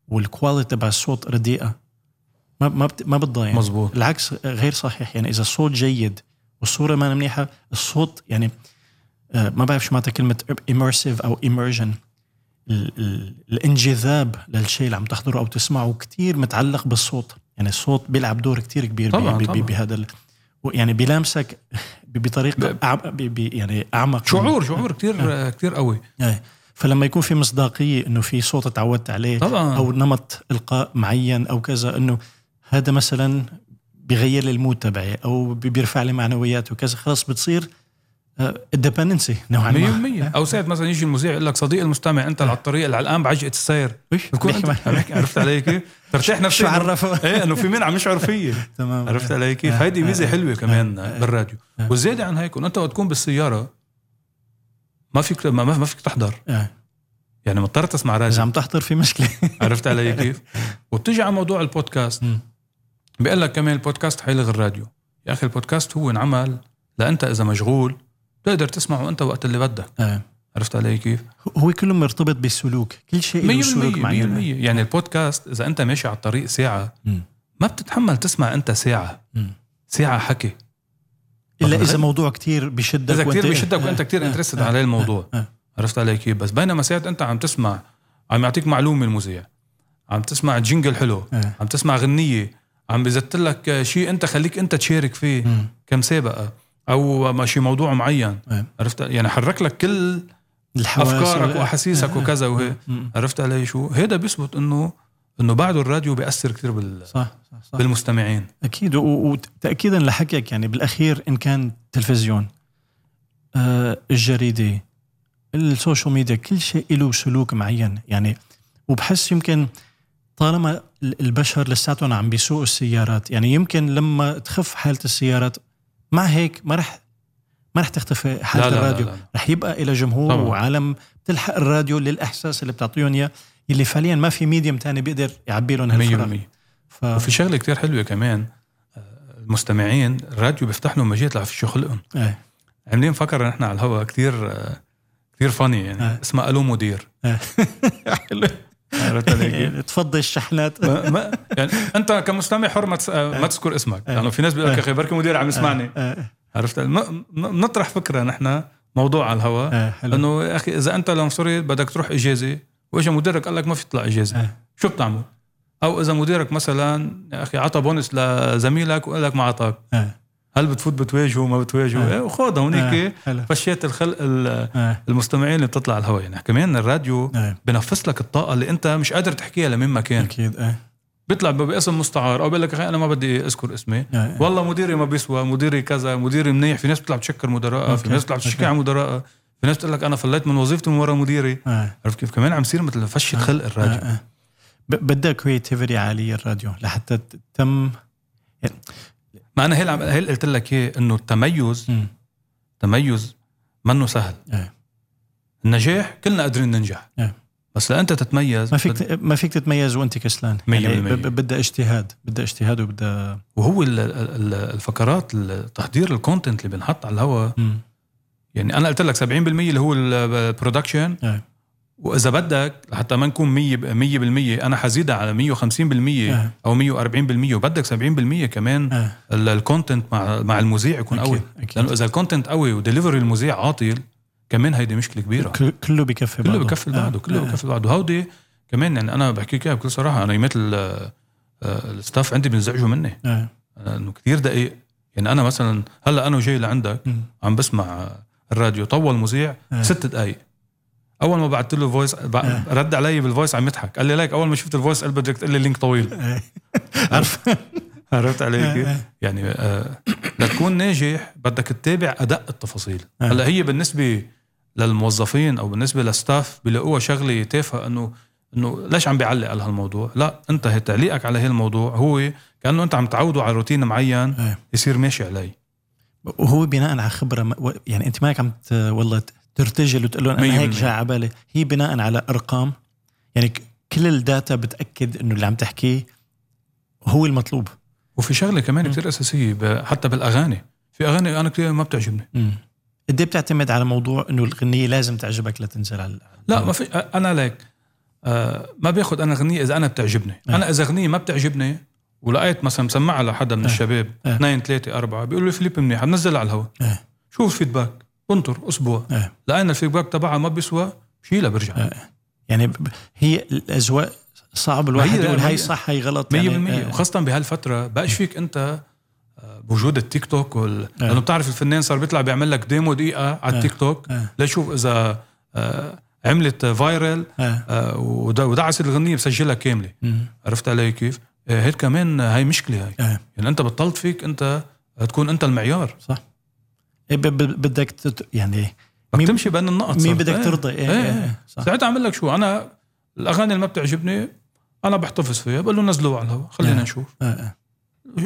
Speaker 1: والكواليتي تبع الصوت رديئه ما ما بت- ما بتضايق يعني.
Speaker 2: مزبوط
Speaker 1: العكس غير صحيح يعني اذا الصوت جيد والصوره ما منيحه الصوت يعني آه، ما بعرف شو معناتها كلمه immersive او immersion ال- ال- الانجذاب للشيء اللي عم تحضره او تسمعه كتير متعلق بالصوت يعني الصوت بيلعب دور كتير كبير
Speaker 2: طبعاً،
Speaker 1: بي- بي-
Speaker 2: طبعاً.
Speaker 1: بهذا ال- يعني بيلامسك ب- بطريقه
Speaker 2: ب-
Speaker 1: أعم- بي- بي- يعني اعمق
Speaker 2: شعور شعور كتير كتير قوي
Speaker 1: فلما يكون في مصداقيه انه في صوت تعودت عليه
Speaker 2: طبعا
Speaker 1: او نمط القاء معين او كذا انه هذا مثلا بغير لي المود تبعي او بي- بيرفع لي معنويات وكذا خلاص بتصير ديبندنسي نوعا
Speaker 2: يعني
Speaker 1: ما
Speaker 2: 100% او ساعه مثلا يجي المذيع يقول لك صديق المستمع انت على الطريق اللي على الان بعجقه السير
Speaker 1: وش؟
Speaker 2: بتكون
Speaker 1: بيحكي
Speaker 2: أنت-
Speaker 1: معي.
Speaker 2: عم يحكي- عرفت علي كيف؟ ترتاح نفسيا
Speaker 1: شو عرفه
Speaker 2: ايه انه في مين عم يشعر فيي
Speaker 1: تمام
Speaker 2: عرفت علي كيف؟
Speaker 1: آه،
Speaker 2: هيدي ميزه
Speaker 1: آه،
Speaker 2: حلوه كمان
Speaker 1: آه،
Speaker 2: بالراديو
Speaker 1: آه.
Speaker 2: وزياده عن هيك إنه انت وقت تكون بالسياره ما فيك ما, ما فيك تحضر
Speaker 1: آه.
Speaker 2: يعني مضطر تسمع
Speaker 1: اذا
Speaker 2: راديو
Speaker 1: عم تحضر في مشكله
Speaker 2: عرفت علي كيف؟ وبتيجي على موضوع البودكاست
Speaker 1: مم.
Speaker 2: بيقول لك كمان البودكاست حيلغي الراديو يا اخي البودكاست هو انعمل لانت اذا مشغول بتقدر تسمعه انت وقت اللي بدك
Speaker 1: آه.
Speaker 2: عرفت علي كيف؟ 100%
Speaker 1: هو كله مرتبط بالسلوك كل شيء له سلوك معين
Speaker 2: يعني البودكاست اذا انت ماشي على الطريق ساعه
Speaker 1: مم.
Speaker 2: ما بتتحمل تسمع انت ساعه
Speaker 1: مم.
Speaker 2: ساعه حكي
Speaker 1: الا
Speaker 2: طبعاً.
Speaker 1: اذا موضوع كتير بشدك
Speaker 2: اذا كثير
Speaker 1: وأنت-
Speaker 2: بيشدك وانت
Speaker 1: آه،
Speaker 2: كثير
Speaker 1: آه،
Speaker 2: انترستد
Speaker 1: آه،
Speaker 2: على الموضوع
Speaker 1: آه.
Speaker 2: عرفت علي كيف بس بينما ساعات انت عم تسمع عم يعطيك معلومه المذيع عم تسمع جينجل حلو
Speaker 1: آه.
Speaker 2: عم تسمع غنيه عم بزت لك شيء انت خليك انت تشارك فيه
Speaker 1: مم.
Speaker 2: كمسابقه او ما شي موضوع معين
Speaker 1: آه.
Speaker 2: عرفت يعني حرك لك كل
Speaker 1: الحواس
Speaker 2: افكارك
Speaker 1: وال-
Speaker 2: واحاسيسك
Speaker 1: آه، آه.
Speaker 2: وكذا وهي
Speaker 1: مم.
Speaker 2: عرفت علي شو هذا بيثبت انه انه بعده الراديو بياثر كثير بال
Speaker 1: صح صح, صح.
Speaker 2: بالمستمعين
Speaker 1: اكيد و- وتاكيدا لحكيك يعني بالاخير ان كان التلفزيون آه، الجريده السوشيال ميديا كل شيء له سلوك معين يعني وبحس يمكن طالما ال- البشر لساتهم عم بيسوقوا السيارات يعني يمكن لما تخف حاله السيارات مع هيك ما رح ما رح تختفي حاله
Speaker 2: لا لا, لا,
Speaker 1: الراديو
Speaker 2: لا, لا.
Speaker 1: رح يبقى إلى جمهور
Speaker 2: طبعاً.
Speaker 1: طبعا. وعالم بتلحق الراديو للاحساس اللي بتعطيهم اياه اللي فعليا ما في ميديم تاني بيقدر يعبي لهم هالفراغ
Speaker 2: 100%
Speaker 1: ف...
Speaker 2: وفي شغله كتير حلوه كمان آه، المستمعين الراديو بيفتح لهم مجال لعفشوا خلقهم يعني
Speaker 1: إيه.
Speaker 2: عاملين فكره نحن على الهواء كتير آه، كتير فاني يعني
Speaker 1: آه.
Speaker 2: اسمها الو مدير
Speaker 1: إيه.
Speaker 2: عرفت علي كيف؟
Speaker 1: تفضي الشحنات
Speaker 2: ما ما يعني انت كمستمع حر ما, تس... ما تذكر اسمك لانه في ناس بيقول لك يا اخي بركي مدير عم يسمعني
Speaker 1: آه،
Speaker 2: عرفت م- م- نطرح فكره نحن موضوع على الهواء
Speaker 1: آه، حلو
Speaker 2: انه يا اخي اذا انت لعنصري بدك تروح اجازه واجا مديرك قال لك ما في تطلع اجازه
Speaker 1: آه.
Speaker 2: شو بتعمل؟ او اذا مديرك مثلا يا اخي عطى بونس لزميلك وقال لك ما عطاك
Speaker 1: آه.
Speaker 2: هل بتفوت بتواجهه ما بتواجهه؟
Speaker 1: آه.
Speaker 2: ايه وخوضها
Speaker 1: آه،
Speaker 2: هونيك
Speaker 1: حلو
Speaker 2: فشيت الخلق ال-
Speaker 1: آه،
Speaker 2: المستمعين اللي بتطلع على الهواء يعني كمان الراديو
Speaker 1: آه،
Speaker 2: بنفس لك الطاقه اللي انت مش قادر تحكيها لمين ما كان
Speaker 1: اكيد آه،
Speaker 2: بيطلع ب- باسم مستعار او بيقول لك يا أخي انا ما بدي اذكر اسمي
Speaker 1: آه،
Speaker 2: والله مديري ما بيسوى مديري كذا مديري منيح في ناس بتطلع بتشكر مدراء في
Speaker 1: أوكي.
Speaker 2: ناس بتطلع بتشكي
Speaker 1: أوكي.
Speaker 2: على مدراء في ناس بتقول لك انا فليت من وظيفتي من ورا مديري
Speaker 1: آه،
Speaker 2: عرفت كيف كمان عم يصير مثل فشة
Speaker 1: آه.
Speaker 2: خلق الراجل
Speaker 1: آه، آه. ب- بدها كريتيفيتي عاليه الراديو لحتى ت- تم
Speaker 2: ما انا هيل عم هيل إيه، قلت لك ايه انه التميز
Speaker 1: مم.
Speaker 2: تميز منه سهل
Speaker 1: إيه.
Speaker 2: النجاح كلنا قادرين ننجح
Speaker 1: نعم.
Speaker 2: بس لانت تتميز
Speaker 1: ما فيك ما فيك تتميز وانت كسلان
Speaker 2: مية
Speaker 1: يعني
Speaker 2: بالمية.
Speaker 1: ب- بدها اجتهاد بدها اجتهاد وبدها
Speaker 2: وهو ال- ال- ال- الفقرات ال- تحضير الكونتنت اللي بنحط على الهواء
Speaker 1: مم.
Speaker 2: يعني انا قلت لك 70% اللي هو البرودكشن
Speaker 1: نعم.
Speaker 2: واذا بدك لحتى ما نكون 100 ب- 100% انا حزيدها على 150%
Speaker 1: آه.
Speaker 2: او 140% وبدك 70% كمان
Speaker 1: آه.
Speaker 2: ال- الكونتنت مع مع المذيع يكون
Speaker 1: أكيد،
Speaker 2: قوي
Speaker 1: أكيد.
Speaker 2: لانه اذا الكونتنت قوي ودليفري المذيع عاطل كمان هيدي مشكله كبيره
Speaker 1: كل- كله بكفي
Speaker 2: كله
Speaker 1: بعضه.
Speaker 2: بكفل
Speaker 1: آه.
Speaker 2: بعضه كله
Speaker 1: آه.
Speaker 2: بكفل بعضه هودي كمان يعني انا بحكيك اياها بكل صراحه انا يمات الستاف آه، عندي بينزعجوا مني
Speaker 1: آه.
Speaker 2: انه كثير دقيق يعني انا مثلا هلا انا وجاي لعندك
Speaker 1: مم.
Speaker 2: عم بسمع الراديو طول مذيع
Speaker 1: آه.
Speaker 2: ست دقائق اول ما بعثت له فويس
Speaker 1: آه.
Speaker 2: رد علي بالفويس عم يضحك قال لي ليك اول ما شفت الفويس قال بدك تقول لي لينك طويل
Speaker 1: آه. عرف
Speaker 2: عرفت علي كيف؟
Speaker 1: آه، آه.
Speaker 2: يعني آه، لتكون ناجح بدك تتابع ادق التفاصيل
Speaker 1: آه.
Speaker 2: هلا هي بالنسبه للموظفين او بالنسبه للستاف بيلاقوها شغله تافهه انه انه ليش عم بيعلق على هالموضوع؟ لا انت هي- تعليقك على هالموضوع هو كانه انت عم تعوده على روتين معين
Speaker 1: آه.
Speaker 2: يصير ماشي عليه
Speaker 1: وهو بناء على خبره ما- و- يعني انت مالك عم ت- والله ت- ترتجل وتقول لهم
Speaker 2: مية
Speaker 1: انا هيك
Speaker 2: بالمية.
Speaker 1: جاي على بالي هي بناء على ارقام يعني ك- كل الداتا بتاكد انه اللي عم تحكيه هو المطلوب
Speaker 2: وفي شغله كمان
Speaker 1: مم.
Speaker 2: كثير اساسيه ب- حتى بالاغاني في اغاني انا كثير ما بتعجبني
Speaker 1: مم. قد إيه بتعتمد على موضوع انه الغنيه لازم تعجبك لتنزل على
Speaker 2: لا ما في أ- انا لك آه ما باخذ انا غنيه اذا انا بتعجبني
Speaker 1: آه.
Speaker 2: انا اذا غنيه ما بتعجبني ولقيت مثلا مسمعها لحدا من
Speaker 1: آه.
Speaker 2: الشباب
Speaker 1: آه.
Speaker 2: اثنين ثلاثه اربعه بيقولوا لي فيليب منيح بنزلها على الهواء
Speaker 1: آه.
Speaker 2: شو الفيدباك انطر اسبوع
Speaker 1: آه.
Speaker 2: لقينا الفيدباك تبعها ما بيسوى شيلها برجع
Speaker 1: آه. يعني ب- هي الاذواق صعب الواحد
Speaker 2: هي-
Speaker 1: يقول
Speaker 2: هي-
Speaker 1: هاي صح هاي غلط
Speaker 2: 100%
Speaker 1: يعني آه.
Speaker 2: وخاصه بهالفتره بقاش فيك انت آه، بوجود التيك توك وال... لانه بتعرف الفنان صار بيطلع بيعمل لك ديمو دقيقه على
Speaker 1: آه.
Speaker 2: التيك توك
Speaker 1: آه.
Speaker 2: ليشوف اذا آه، عملت فايرل
Speaker 1: آه.
Speaker 2: ودعست الغنيه بسجلها كامله
Speaker 1: مم.
Speaker 2: عرفت علي كيف؟ آه، هيك كمان آه، هاي مشكله هاي
Speaker 1: آه.
Speaker 2: يعني انت بطلت فيك انت تكون انت المعيار
Speaker 1: إيه ب- ب- بدك تت- يعني
Speaker 2: بدك
Speaker 1: مين-
Speaker 2: تمشي بان النقط
Speaker 1: مين
Speaker 2: صارت.
Speaker 1: بدك
Speaker 2: إيه.
Speaker 1: ترضي إيه،
Speaker 2: إيه،
Speaker 1: إيه،
Speaker 2: إيه.
Speaker 1: صح.
Speaker 2: ساعتها اعمل لك شو انا الاغاني اللي ما بتعجبني انا بحتفظ فيها بقول له نزلوها على الهواء خلينا
Speaker 1: آه.
Speaker 2: نشوف
Speaker 1: آه. آه.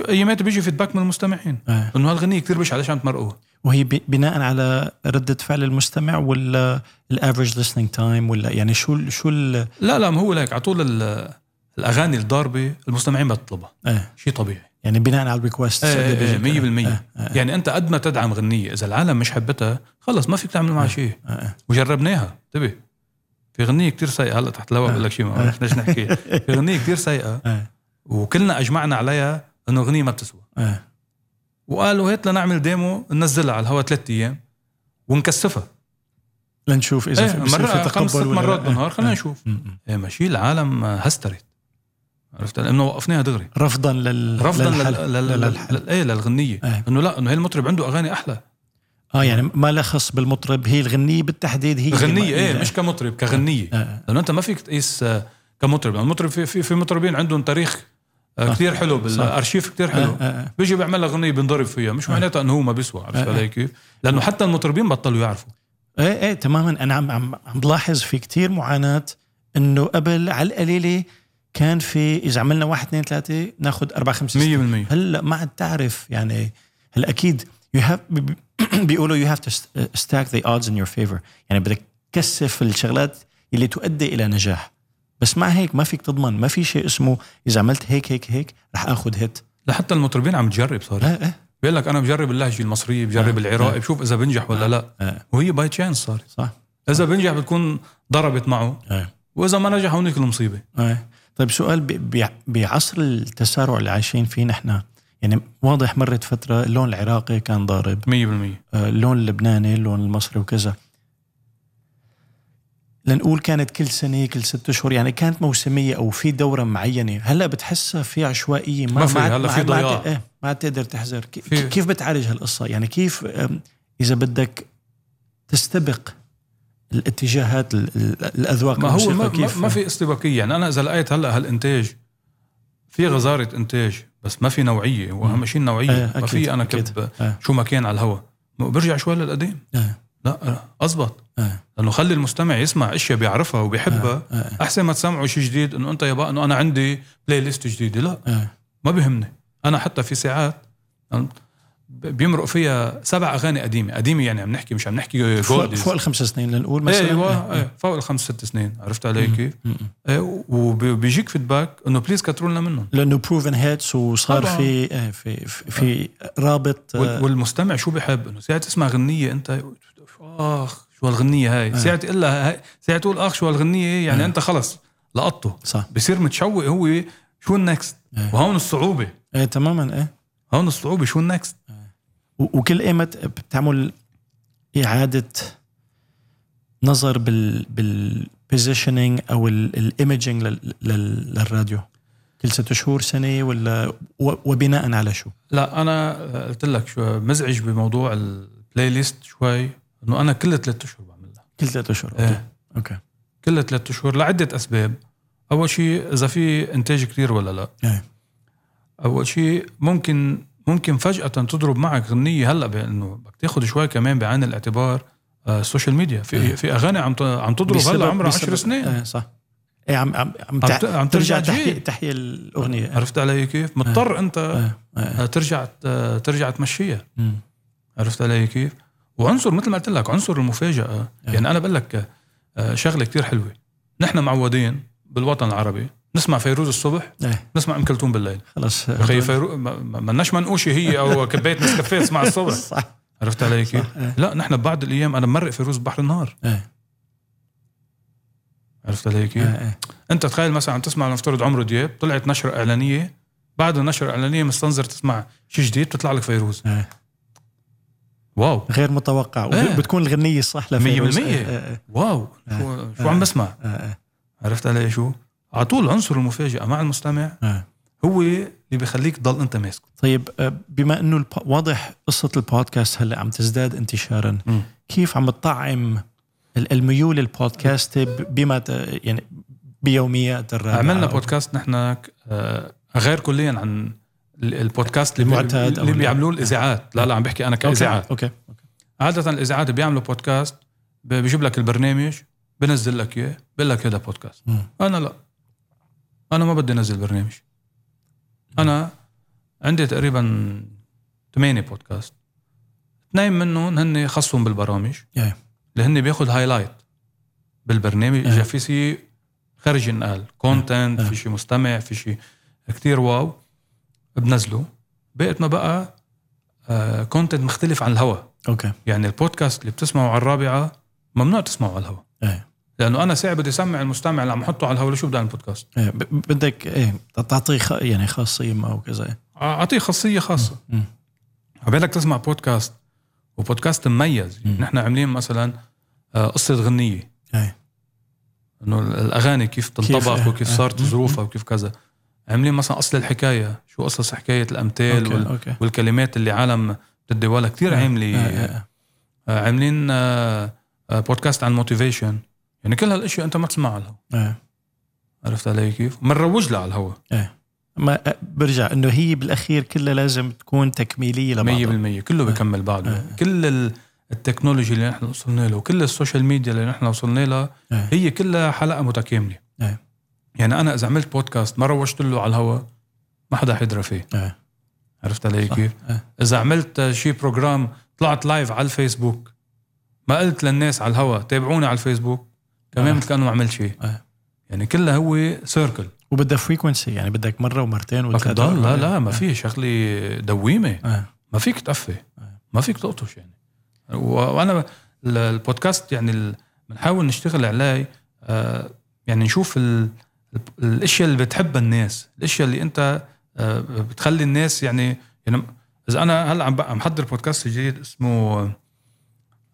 Speaker 2: ايامات بيجي فيدباك من المستمعين
Speaker 1: آه.
Speaker 2: انه هالغنيه كثير بشعه ليش عم تمرقوها؟
Speaker 1: وهي ب- بناء على ردة فعل المستمع ولا الافرج listening تايم ولا يعني شو ال- شو ال-
Speaker 2: لا لا ما هو لك على طول ال- الاغاني الضاربه المستمعين بتطلبها
Speaker 1: إيه.
Speaker 2: شيء طبيعي
Speaker 1: يعني بناء على الريكوست
Speaker 2: إيه، إيه، إيه، مية بالمية. يعني انت قد ما تدعم غنيه اذا العالم مش حبتها خلص ما فيك
Speaker 1: إيه.
Speaker 2: تعمل معها شيء
Speaker 1: آه،
Speaker 2: وجربناها انتبه في غنيه كتير سيئه هلا تحت
Speaker 1: آه.
Speaker 2: الهواء بقول لك شيء ما بعرف ليش نحكي في غنيه كتير سيئه وكلنا اجمعنا عليها انه غنيه ما بتسوى
Speaker 1: آه،
Speaker 2: وقالوا هات لنعمل ديمو ننزلها على الهواء ثلاث ايام ونكثفها
Speaker 1: لنشوف اذا
Speaker 2: ايه
Speaker 1: في- بصير
Speaker 2: مرة
Speaker 1: في
Speaker 2: خمس ست
Speaker 1: تقبل ولا
Speaker 2: مرات
Speaker 1: لا.
Speaker 2: بالنهار خلينا
Speaker 1: آه.
Speaker 2: نشوف
Speaker 1: م- م.
Speaker 2: ايه ماشي العالم هسترت عرفت لانه وقفناها دغري
Speaker 1: رفضا لل
Speaker 2: رفضا
Speaker 1: للحل.
Speaker 2: لل- لل-
Speaker 1: للحل.
Speaker 2: لل- ايه للغنيه
Speaker 1: إيه.
Speaker 2: انه لا انه هي المطرب عنده اغاني احلى
Speaker 1: اه يعني ما لا خص بالمطرب هي الغنيه بالتحديد هي
Speaker 2: غنيه ايه
Speaker 1: اللي-
Speaker 2: مش كمطرب كغنيه
Speaker 1: آه.
Speaker 2: لانه انت ما فيك تقيس آه، كمطرب لأنه المطرب في في, في مطربين عندهم تاريخ
Speaker 1: صح.
Speaker 2: كثير حلو
Speaker 1: صح.
Speaker 2: بالارشيف كثير
Speaker 1: آه.
Speaker 2: حلو
Speaker 1: آه. آه.
Speaker 2: بيجي بيعمل لها اغنيه بينضرب فيها مش
Speaker 1: آه.
Speaker 2: معناتها انه هو ما بيسوى عرفت
Speaker 1: آه.
Speaker 2: علي كيف؟ لانه حتى المطربين بطلوا يعرفوا
Speaker 1: ايه ايه تماما انا عم عم عم بلاحظ في كتير معاناه انه قبل على القليله كان في اذا عملنا واحد اثنين ثلاثه ناخذ اربع خمس
Speaker 2: 100%
Speaker 1: ستة. هلا ما عاد تعرف يعني هلا اكيد يو هاف بيقولوا يو هاف تو ستاك ذا اودز ان يور فيفور يعني بدك تكثف الشغلات اللي تؤدي الى نجاح بس مع هيك ما فيك تضمن ما في شيء اسمه اذا عملت هيك هيك هيك رح اخذ هيت
Speaker 2: لحتى المطربين عم تجرب صار
Speaker 1: لا إيه،
Speaker 2: بيقول لك انا بجرب اللهجه المصريه بجرب
Speaker 1: آه.
Speaker 2: العراقي
Speaker 1: آه.
Speaker 2: بشوف اذا بنجح ولا لا
Speaker 1: آه.
Speaker 2: وهي باي تشانس صارت
Speaker 1: صح
Speaker 2: اذا بنجح بتكون ضربت معه
Speaker 1: إيه.
Speaker 2: واذا ما نجح هونيك المصيبه
Speaker 1: إيه. طيب سؤال ب- ب- بعصر التسارع اللي عايشين فيه نحن يعني واضح مرت فتره اللون العراقي كان ضارب
Speaker 2: 100%
Speaker 1: آه، اللون اللبناني اللون المصري وكذا لنقول كانت كل سنه كل ست اشهر يعني كانت موسميه او في دوره معينه هلا بتحسها في عشوائيه ما
Speaker 2: ما في،
Speaker 1: ما عاد-
Speaker 2: هلأ
Speaker 1: ما
Speaker 2: في
Speaker 1: عاد- ما عاد-
Speaker 2: ضياع.
Speaker 1: إيه، ما عاد تقدر تحذر كي-
Speaker 2: في-
Speaker 1: كيف بتعالج هالقصه يعني كيف أم، اذا بدك تستبق الاتجاهات ال- ال- الاذواق
Speaker 2: ما هو ما,
Speaker 1: الموسيقى
Speaker 2: ما,
Speaker 1: كيف
Speaker 2: ما في استباقيه يعني انا اذا لقيت هلا هالانتاج في غزاره انتاج بس ما في نوعيه واهم شيء النوعيه
Speaker 1: إيه،
Speaker 2: ما
Speaker 1: أكيد،
Speaker 2: في انا
Speaker 1: أكيد.
Speaker 2: كب
Speaker 1: إيه.
Speaker 2: شو ما كان على الهواء برجع شوي للقديم
Speaker 1: إيه.
Speaker 2: لا اضبط
Speaker 1: إيه.
Speaker 2: لانه خلي المستمع يسمع اشياء بيعرفها وبيحبها
Speaker 1: إيه، إيه.
Speaker 2: احسن ما تسمعوا شيء جديد انه انت يابا انه انا عندي بلاي ليست جديده لا
Speaker 1: إيه.
Speaker 2: ما بهمني انا حتى في ساعات بيمرق فيها سبع اغاني قديمه قديمه يعني عم نحكي مش عم نحكي
Speaker 1: فوق,
Speaker 2: oldies.
Speaker 1: فوق إيه. الخمس سنين لنقول آه، مثلا
Speaker 2: ايوه ايه فوق الخمس ست سنين عرفت علي كيف؟ ايه وبيجيك فيدباك انه بليز كتروا لنا منهم
Speaker 1: لانه بروفن هيتس وصار
Speaker 2: طبعاً.
Speaker 1: في آه، في في, في رابط آه،
Speaker 2: وال- والمستمع شو بحب انه ساعه تسمع غنيه انت اخ شو هالغنيه هاي ساعه تقول لها هاي ساعه تقول اخ شو هالغنيه هي يعني انت خلص لقطته
Speaker 1: صح
Speaker 2: بصير متشوق هو شو النكست
Speaker 1: إيه.
Speaker 2: وهون الصعوبه
Speaker 1: ايه تماما ايه
Speaker 2: هون الصعوبه شو النكست
Speaker 1: و- وكل ايمت بتعمل اعاده نظر بال بال positioning او الايمجنج للراديو كل ست شهور سنه ولا و- وبناء على شو؟
Speaker 2: لا انا قلت لك شو مزعج بموضوع البلاي ليست شوي انه انا كل ثلاث اشهر بعملها
Speaker 1: كل ثلاث اشهر
Speaker 2: إيه.
Speaker 1: اوكي اوكي
Speaker 2: كل ثلاثة اشهر لعده اسباب اول شيء اذا في انتاج كتير ولا لا
Speaker 1: إيه.
Speaker 2: اول شيء ممكن ممكن فجاه تضرب معك غنيه هلا بانه بدك تاخذ شوي كمان بعين الاعتبار آه، السوشيال ميديا في
Speaker 1: إيه.
Speaker 2: في اغاني عم ت- عم تضرب هلا عمرها 10
Speaker 1: بسبب-
Speaker 2: سنين
Speaker 1: ايه صح ايه عم عم عم,
Speaker 2: عم
Speaker 1: تع-
Speaker 2: ت- عم
Speaker 1: ترجع
Speaker 2: ترجع آه.
Speaker 1: تحيي
Speaker 2: تجيب.
Speaker 1: تحيي الاغنيه
Speaker 2: عرفت علي كيف؟ مضطر انت
Speaker 1: إيه، إيه،
Speaker 2: آه، ترجع آه، ترجع تمشيها
Speaker 1: مم.
Speaker 2: عرفت علي كيف؟ وعنصر مثل ما قلت لك عنصر المفاجاه
Speaker 1: أه.
Speaker 2: يعني انا بقول لك آه، شغله كتير حلوه نحن معودين بالوطن العربي نسمع فيروز الصبح
Speaker 1: ايه
Speaker 2: نسمع ام كلثوم بالليل
Speaker 1: خلص
Speaker 2: اخي فيروز مناش منقوشه هي او كبايه نسكافيه تسمع الصبح
Speaker 1: صح
Speaker 2: عرفت علي كيف؟
Speaker 1: صح ايه
Speaker 2: لا نحن ببعض الايام انا مرق فيروز بحر النهار
Speaker 1: إيه.
Speaker 2: عرفت علي
Speaker 1: إيه،
Speaker 2: كيف؟
Speaker 1: إيه.
Speaker 2: انت تخيل مثلا عم تسمع لنفترض عمرو دياب طلعت نشره اعلانيه بعد النشره الاعلانيه مستنظر تسمع شيء جديد بتطلع لك فيروز
Speaker 1: إيه.
Speaker 2: واو
Speaker 1: غير متوقع
Speaker 2: إيه.
Speaker 1: بتكون الغنيه الصح لفيروز
Speaker 2: 100%.
Speaker 1: إيه، إيه، إيه،
Speaker 2: واو شو, شو عم بسمع؟
Speaker 1: إيه، إيه.
Speaker 2: عرفت علي شو؟ على طول عنصر المفاجأة مع المستمع
Speaker 1: آه.
Speaker 2: هو اللي بخليك تضل انت ماسكه
Speaker 1: طيب آه، بما انه الب... واضح قصه البودكاست هلا عم تزداد انتشارا
Speaker 2: مم.
Speaker 1: كيف عم تطعم ال- الميول البودكاست ب- بما ت... يعني بيوميات الرابعه
Speaker 2: عملنا
Speaker 1: أو-
Speaker 2: بودكاست نحن آه، غير كليا عن ال- البودكاست اللي بي-
Speaker 1: المعتاد أو
Speaker 2: اللي
Speaker 1: ال-
Speaker 2: بيعملوه الاذاعات لا لا عم بحكي انا
Speaker 1: اوكي
Speaker 2: كاذاعات
Speaker 1: اوكي
Speaker 2: عاده الاذاعات بيعملوا بودكاست ب- بيجيب لك البرنامج بنزل لك اياه بقول لك هذا بودكاست
Speaker 1: مم.
Speaker 2: انا لا انا ما بدي انزل برنامج انا عندي تقريبا ثمانية بودكاست اثنين منهم هن خصهم بالبرامج
Speaker 1: إيه.
Speaker 2: اللي هن بياخد هايلايت بالبرنامج اذا في شيء خارج ينقال كونتنت
Speaker 1: إيه.
Speaker 2: في شيء مستمع في شيء كتير واو بنزله بقيتنا بقى كونتنت مختلف عن الهوا
Speaker 1: اوكي
Speaker 2: يعني البودكاست اللي بتسمعه على الرابعه ممنوع تسمعه على الهوا
Speaker 1: ايه
Speaker 2: لانه انا ساعه بدي اسمع المستمع اللي عم احطه على الهوا لشو بدي أعمل بودكاست
Speaker 1: إيه، ب- بدك ايه تعطيه خ... يعني خاصيه ما وكذا
Speaker 2: اعطيه خاصيه خاصه
Speaker 1: مم.
Speaker 2: عبالك تسمع بودكاست وبودكاست مميز يعني
Speaker 1: مم.
Speaker 2: نحن عاملين مثلا آه، قصه غنيه
Speaker 1: ايه
Speaker 2: انه ال- الاغاني كيف تنطبخ
Speaker 1: آه،
Speaker 2: وكيف
Speaker 1: آه.
Speaker 2: صارت
Speaker 1: مم.
Speaker 2: ظروفها وكيف كذا عاملين مثلا اصل الحكايه شو قصص حكايه الامثال
Speaker 1: اوكي
Speaker 2: وال-
Speaker 1: اوكي
Speaker 2: والكلمات اللي عالم بتديوها كثير
Speaker 1: إيه، إيه،
Speaker 2: عامله
Speaker 1: إيه.
Speaker 2: آه، عاملين آه، آه، بودكاست عن الموتيفيشن يعني كل هالاشياء انت ما تسمعها على الهوا
Speaker 1: إيه.
Speaker 2: عرفت علي كيف؟ بنروج لها على الهوا
Speaker 1: ما آه، برجع انه هي بالاخير كلها لازم تكون تكميليه لبعضها
Speaker 2: 100% كله بيكمل بعضه
Speaker 1: آه.
Speaker 2: كل ال- التكنولوجي اللي نحن وصلنا له وكل السوشيال ميديا اللي نحن وصلنا لها
Speaker 1: آه.
Speaker 2: هي كلها حلقه متكامله
Speaker 1: آه.
Speaker 2: يعني انا اذا عملت بودكاست ما روجت له على الهوا ما حدا حيدرى فيه
Speaker 1: آه.
Speaker 2: عرفت علي
Speaker 1: صح.
Speaker 2: كيف؟
Speaker 1: آه.
Speaker 2: اذا عملت شي بروجرام طلعت لايف على الفيسبوك ما قلت للناس على الهوا تابعوني على الفيسبوك كمان
Speaker 1: آه.
Speaker 2: مثل كانه ما عملت شيء
Speaker 1: آه.
Speaker 2: يعني كلها هو سيركل
Speaker 1: وبدها فريكونسي يعني بدك مره ومرتين
Speaker 2: بدك
Speaker 1: وثلاثه
Speaker 2: تضل لا
Speaker 1: وأربعة.
Speaker 2: لا ما في شغله دويمه
Speaker 1: آه.
Speaker 2: ما فيك تقفي
Speaker 1: أي.
Speaker 2: ما فيك تقطش يعني و- وانا ب- ال- البودكاست يعني ال- بنحاول نشتغل عليه آه، يعني نشوف ال- ال- الاشياء اللي بتحبها الناس الاشياء اللي انت آه، بتخلي الناس يعني يعني اذا انا هلا عم ب- عم بحضر بودكاست جديد اسمه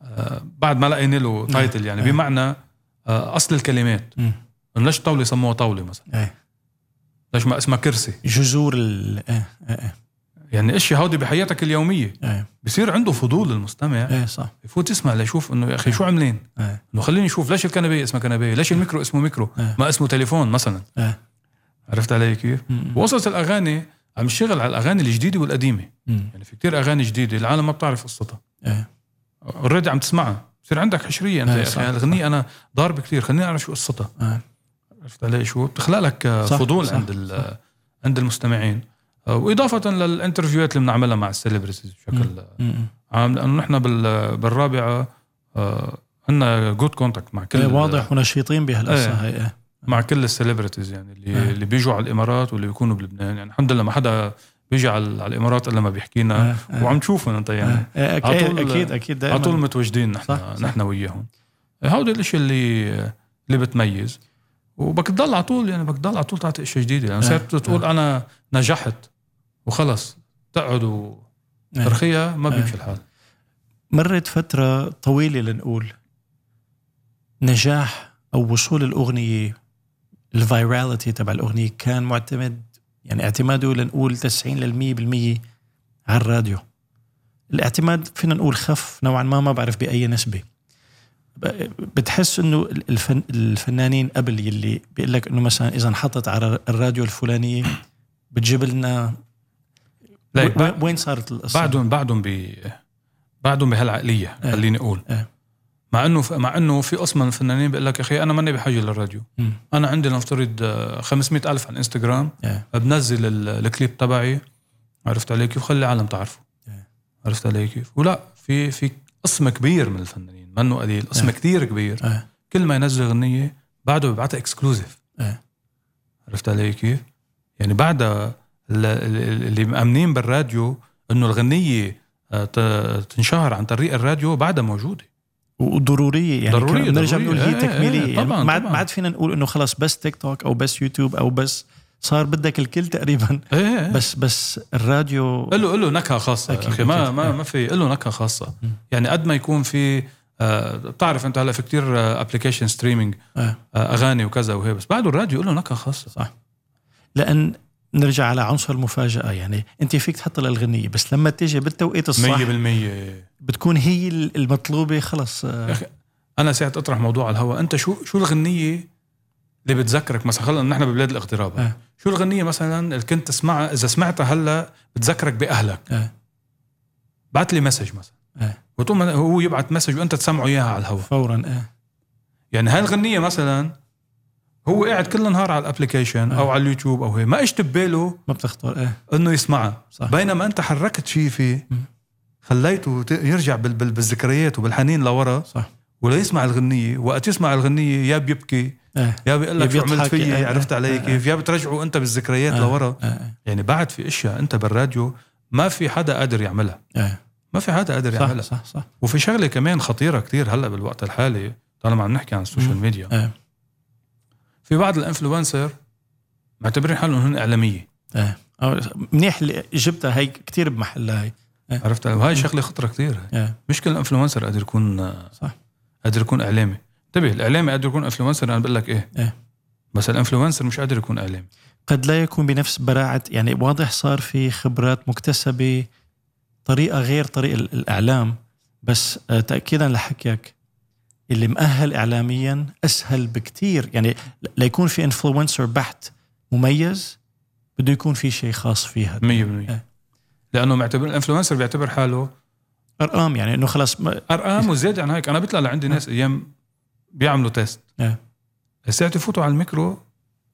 Speaker 2: آه، بعد ما لقينا له تايتل يعني
Speaker 1: أي.
Speaker 2: بمعنى آه، اصل الكلمات
Speaker 1: مم.
Speaker 2: إنه ليش طاوله سموها طاوله مثلا
Speaker 1: أي.
Speaker 2: ليش ما اسمها كرسي
Speaker 1: جذور ال ايه ايه
Speaker 2: يعني اشياء هودي بحياتك اليوميه
Speaker 1: ايه
Speaker 2: بصير عنده فضول المستمع
Speaker 1: ايه صح
Speaker 2: يفوت يسمع ليشوف انه يا اخي شو عاملين؟
Speaker 1: ايه
Speaker 2: انه خليني اشوف ليش الكنبيه اسمها كنبيه؟ ليش الميكرو اسمه ميكرو؟
Speaker 1: إيه.
Speaker 2: ما اسمه تليفون مثلا
Speaker 1: ايه
Speaker 2: عرفت علي كيف؟
Speaker 1: مم.
Speaker 2: وقصص الاغاني عم اشتغل على الاغاني الجديده والقديمه،
Speaker 1: مم.
Speaker 2: يعني في كتير اغاني جديده العالم ما بتعرف قصتها،
Speaker 1: ايه
Speaker 2: اوريدي عم تسمعها، بصير عندك حشريه انت
Speaker 1: إيه،
Speaker 2: يا يعني
Speaker 1: صح،
Speaker 2: اخي الاغنيه انا ضاربه كثير خليني اعرف شو قصتها،
Speaker 1: إيه.
Speaker 2: عرفت علي شو؟ بتخلق لك آه،
Speaker 1: صح،
Speaker 2: فضول
Speaker 1: صح،
Speaker 2: عند ال- عند المستمعين، واضافه للانترفيوهات اللي بنعملها مع السيلبرتيز بشكل
Speaker 1: إيه،
Speaker 2: عام لانه نحن بال- بالرابعه آه، عندنا جود كونتاكت مع كل
Speaker 1: إيه، واضح ونشيطين بهالقصه هاي إيه.
Speaker 2: مع كل السليبرتيز يعني اللي
Speaker 1: آه.
Speaker 2: اللي بيجوا على الامارات واللي بيكونوا بلبنان يعني الحمد لله ما حدا بيجي على على الامارات الا ما بيحكي لنا
Speaker 1: آه، آه.
Speaker 2: وعم تشوفهم انت يعني
Speaker 1: إيه،
Speaker 2: على طول-
Speaker 1: أكيد- اكيد اكيد دائما
Speaker 2: على طول متواجدين نحن
Speaker 1: صح، صح.
Speaker 2: نحن وياهم هودي الاشي اللي اللي بتميز وبك تضل على طول يعني بدك تضل على طول تعطي اشياء جديده يعني
Speaker 1: آه،
Speaker 2: صرت تقول انا نجحت وخلص تقعد
Speaker 1: إيه.
Speaker 2: وترخيها ما
Speaker 1: آه.
Speaker 2: بيمشي الحال
Speaker 1: مرت فترة طويلة لنقول نجاح أو وصول الأغنية الفيراليتي تبع الأغنية كان معتمد يعني اعتماده لنقول 90 لل 100% على الراديو الاعتماد فينا نقول خف نوعا ما ما بعرف بأي نسبة ب- بتحس انه الفن الفنانين قبل يلي بيقول لك انه مثلا اذا انحطت على الراديو الفلانيه بتجيب لنا
Speaker 2: لا،
Speaker 1: وين- وين صارت القصه؟
Speaker 2: بعدهم بعدهم ب بعدهم بهالعقليه
Speaker 1: إيه.
Speaker 2: خليني اقول
Speaker 1: إيه.
Speaker 2: مع انه مع انه في قسم من الفنانين بيقول لك يا اخي انا ماني بحاجه للراديو
Speaker 1: مم.
Speaker 2: انا عندي لنفترض آه، 500 الف على انستغرام
Speaker 1: إيه.
Speaker 2: بنزل ال- الكليب تبعي عرفت علي كيف خلي العالم تعرفه
Speaker 1: إيه.
Speaker 2: عرفت علي كيف ولا في في قسم كبير من الفنانين منه قليل قسم
Speaker 1: إيه.
Speaker 2: كثير كبير
Speaker 1: إيه.
Speaker 2: كل ما ينزل اغنيه بعده بيبعتها اكسكلوزيف
Speaker 1: إيه.
Speaker 2: عرفت علي كيف يعني بعدها ال- ال- اللي مأمنين بالراديو انه الغنيه آه، ت- تنشهر عن طريق الراديو بعدها موجوده
Speaker 1: وضروريه يعني
Speaker 2: ضرورية،
Speaker 1: ضرورية بنرجع
Speaker 2: ضرورية.
Speaker 1: بنقول هي
Speaker 2: إيه، إيه،
Speaker 1: تكميليه
Speaker 2: إيه،
Speaker 1: يعني
Speaker 2: طبعاً،
Speaker 1: ما عاد
Speaker 2: طبعاً.
Speaker 1: ما عاد فينا نقول انه خلاص بس تيك توك او بس يوتيوب او بس صار بدك الكل تقريبا
Speaker 2: ايه إيه.
Speaker 1: بس بس الراديو
Speaker 2: له له نكهه خاصه
Speaker 1: أكيد،
Speaker 2: يا اخي ما
Speaker 1: أكيد.
Speaker 2: ما ما في له نكهه خاصه
Speaker 1: مم.
Speaker 2: يعني قد ما يكون في آه، بتعرف انت هلا في كتير ابلكيشن ستريمينج
Speaker 1: آه.
Speaker 2: اغاني وكذا وهي بس بعده الراديو له نكهه خاصه
Speaker 1: صح. لان نرجع على عنصر المفاجاه يعني انت فيك تحط لها الغنيه بس لما تيجي بالتوقيت
Speaker 2: 100%
Speaker 1: الصح بتكون هي المطلوبه خلص
Speaker 2: إيه.
Speaker 1: آه،
Speaker 2: انا ساعه اطرح موضوع على الهواء انت شو شو الغنيه اللي بتذكرك مثلا خلينا نحن ببلاد الاغتراب
Speaker 1: آه.
Speaker 2: شو الغنيه مثلا اللي كنت تسمعها اذا سمعتها هلا بتذكرك باهلك
Speaker 1: آه.
Speaker 2: بعت لي مسج مثلا
Speaker 1: آه.
Speaker 2: وتقوم هو يبعت مسج وانت تسمعه اياها على الهواء
Speaker 1: فورا آه.
Speaker 2: يعني هالغنية مثلا هو قاعد كل النهار على الابلكيشن او على اليوتيوب او هي ما اجت بباله
Speaker 1: ما بتخطر آه.
Speaker 2: انه يسمعها
Speaker 1: صح.
Speaker 2: بينما انت حركت شيء فيه
Speaker 1: مم.
Speaker 2: خليته ت- يرجع بال- بال- بالذكريات وبالحنين لورا
Speaker 1: صح
Speaker 2: ولا يسمع الغنية وقت يسمع الغنية يا بيبكي
Speaker 1: آه.
Speaker 2: يا بيقول لك
Speaker 1: يا
Speaker 2: شو عملت
Speaker 1: بيضحك،
Speaker 2: فيي
Speaker 1: آه،
Speaker 2: عرفت
Speaker 1: آه،
Speaker 2: علي
Speaker 1: آه،
Speaker 2: كيف يا بترجعه انت بالذكريات
Speaker 1: آه.
Speaker 2: لورا
Speaker 1: آه.
Speaker 2: يعني بعد في اشياء انت بالراديو ما في حدا قادر يعملها
Speaker 1: آه.
Speaker 2: ما في حدا قادر
Speaker 1: صح
Speaker 2: يعملها
Speaker 1: صح صح
Speaker 2: وفي شغله كمان خطيره كتير هلا بالوقت الحالي طالما عم نحكي عن السوشيال
Speaker 1: مم.
Speaker 2: ميديا
Speaker 1: إيه.
Speaker 2: في بعض الانفلونسر معتبرين حالهم هن اعلاميه
Speaker 1: أو منيح اللي جبتها هي كثير بمحلها هي
Speaker 2: عرفت علي؟ وهي شغله خطره كتير
Speaker 1: إيه.
Speaker 2: مش كل انفلونسر قادر يكون
Speaker 1: صح.
Speaker 2: قادر يكون اعلامي انتبه الاعلامي قادر يكون انفلونسر انا بقول لك ايه
Speaker 1: إيه.
Speaker 2: بس الانفلونسر مش قادر يكون اعلامي
Speaker 1: قد لا يكون بنفس براعة يعني واضح صار في خبرات مكتسبة طريقة غير طريق ال- الإعلام بس آه، تأكيدا لحكيك اللي مؤهل إعلاميا أسهل بكتير يعني ل- ليكون في انفلونسر بحت مميز بده يكون في شيء خاص فيها
Speaker 2: 100%
Speaker 1: إيه.
Speaker 2: لانه معتبر الانفلونسر بيعتبر حاله
Speaker 1: أرقام يعني إنه خلاص ما-
Speaker 2: ارقام وزياده عن يعني هيك انا بيطلع لعندي ناس ايام بيعملوا تيست
Speaker 1: إيه.
Speaker 2: الساعة يفوتوا على الميكرو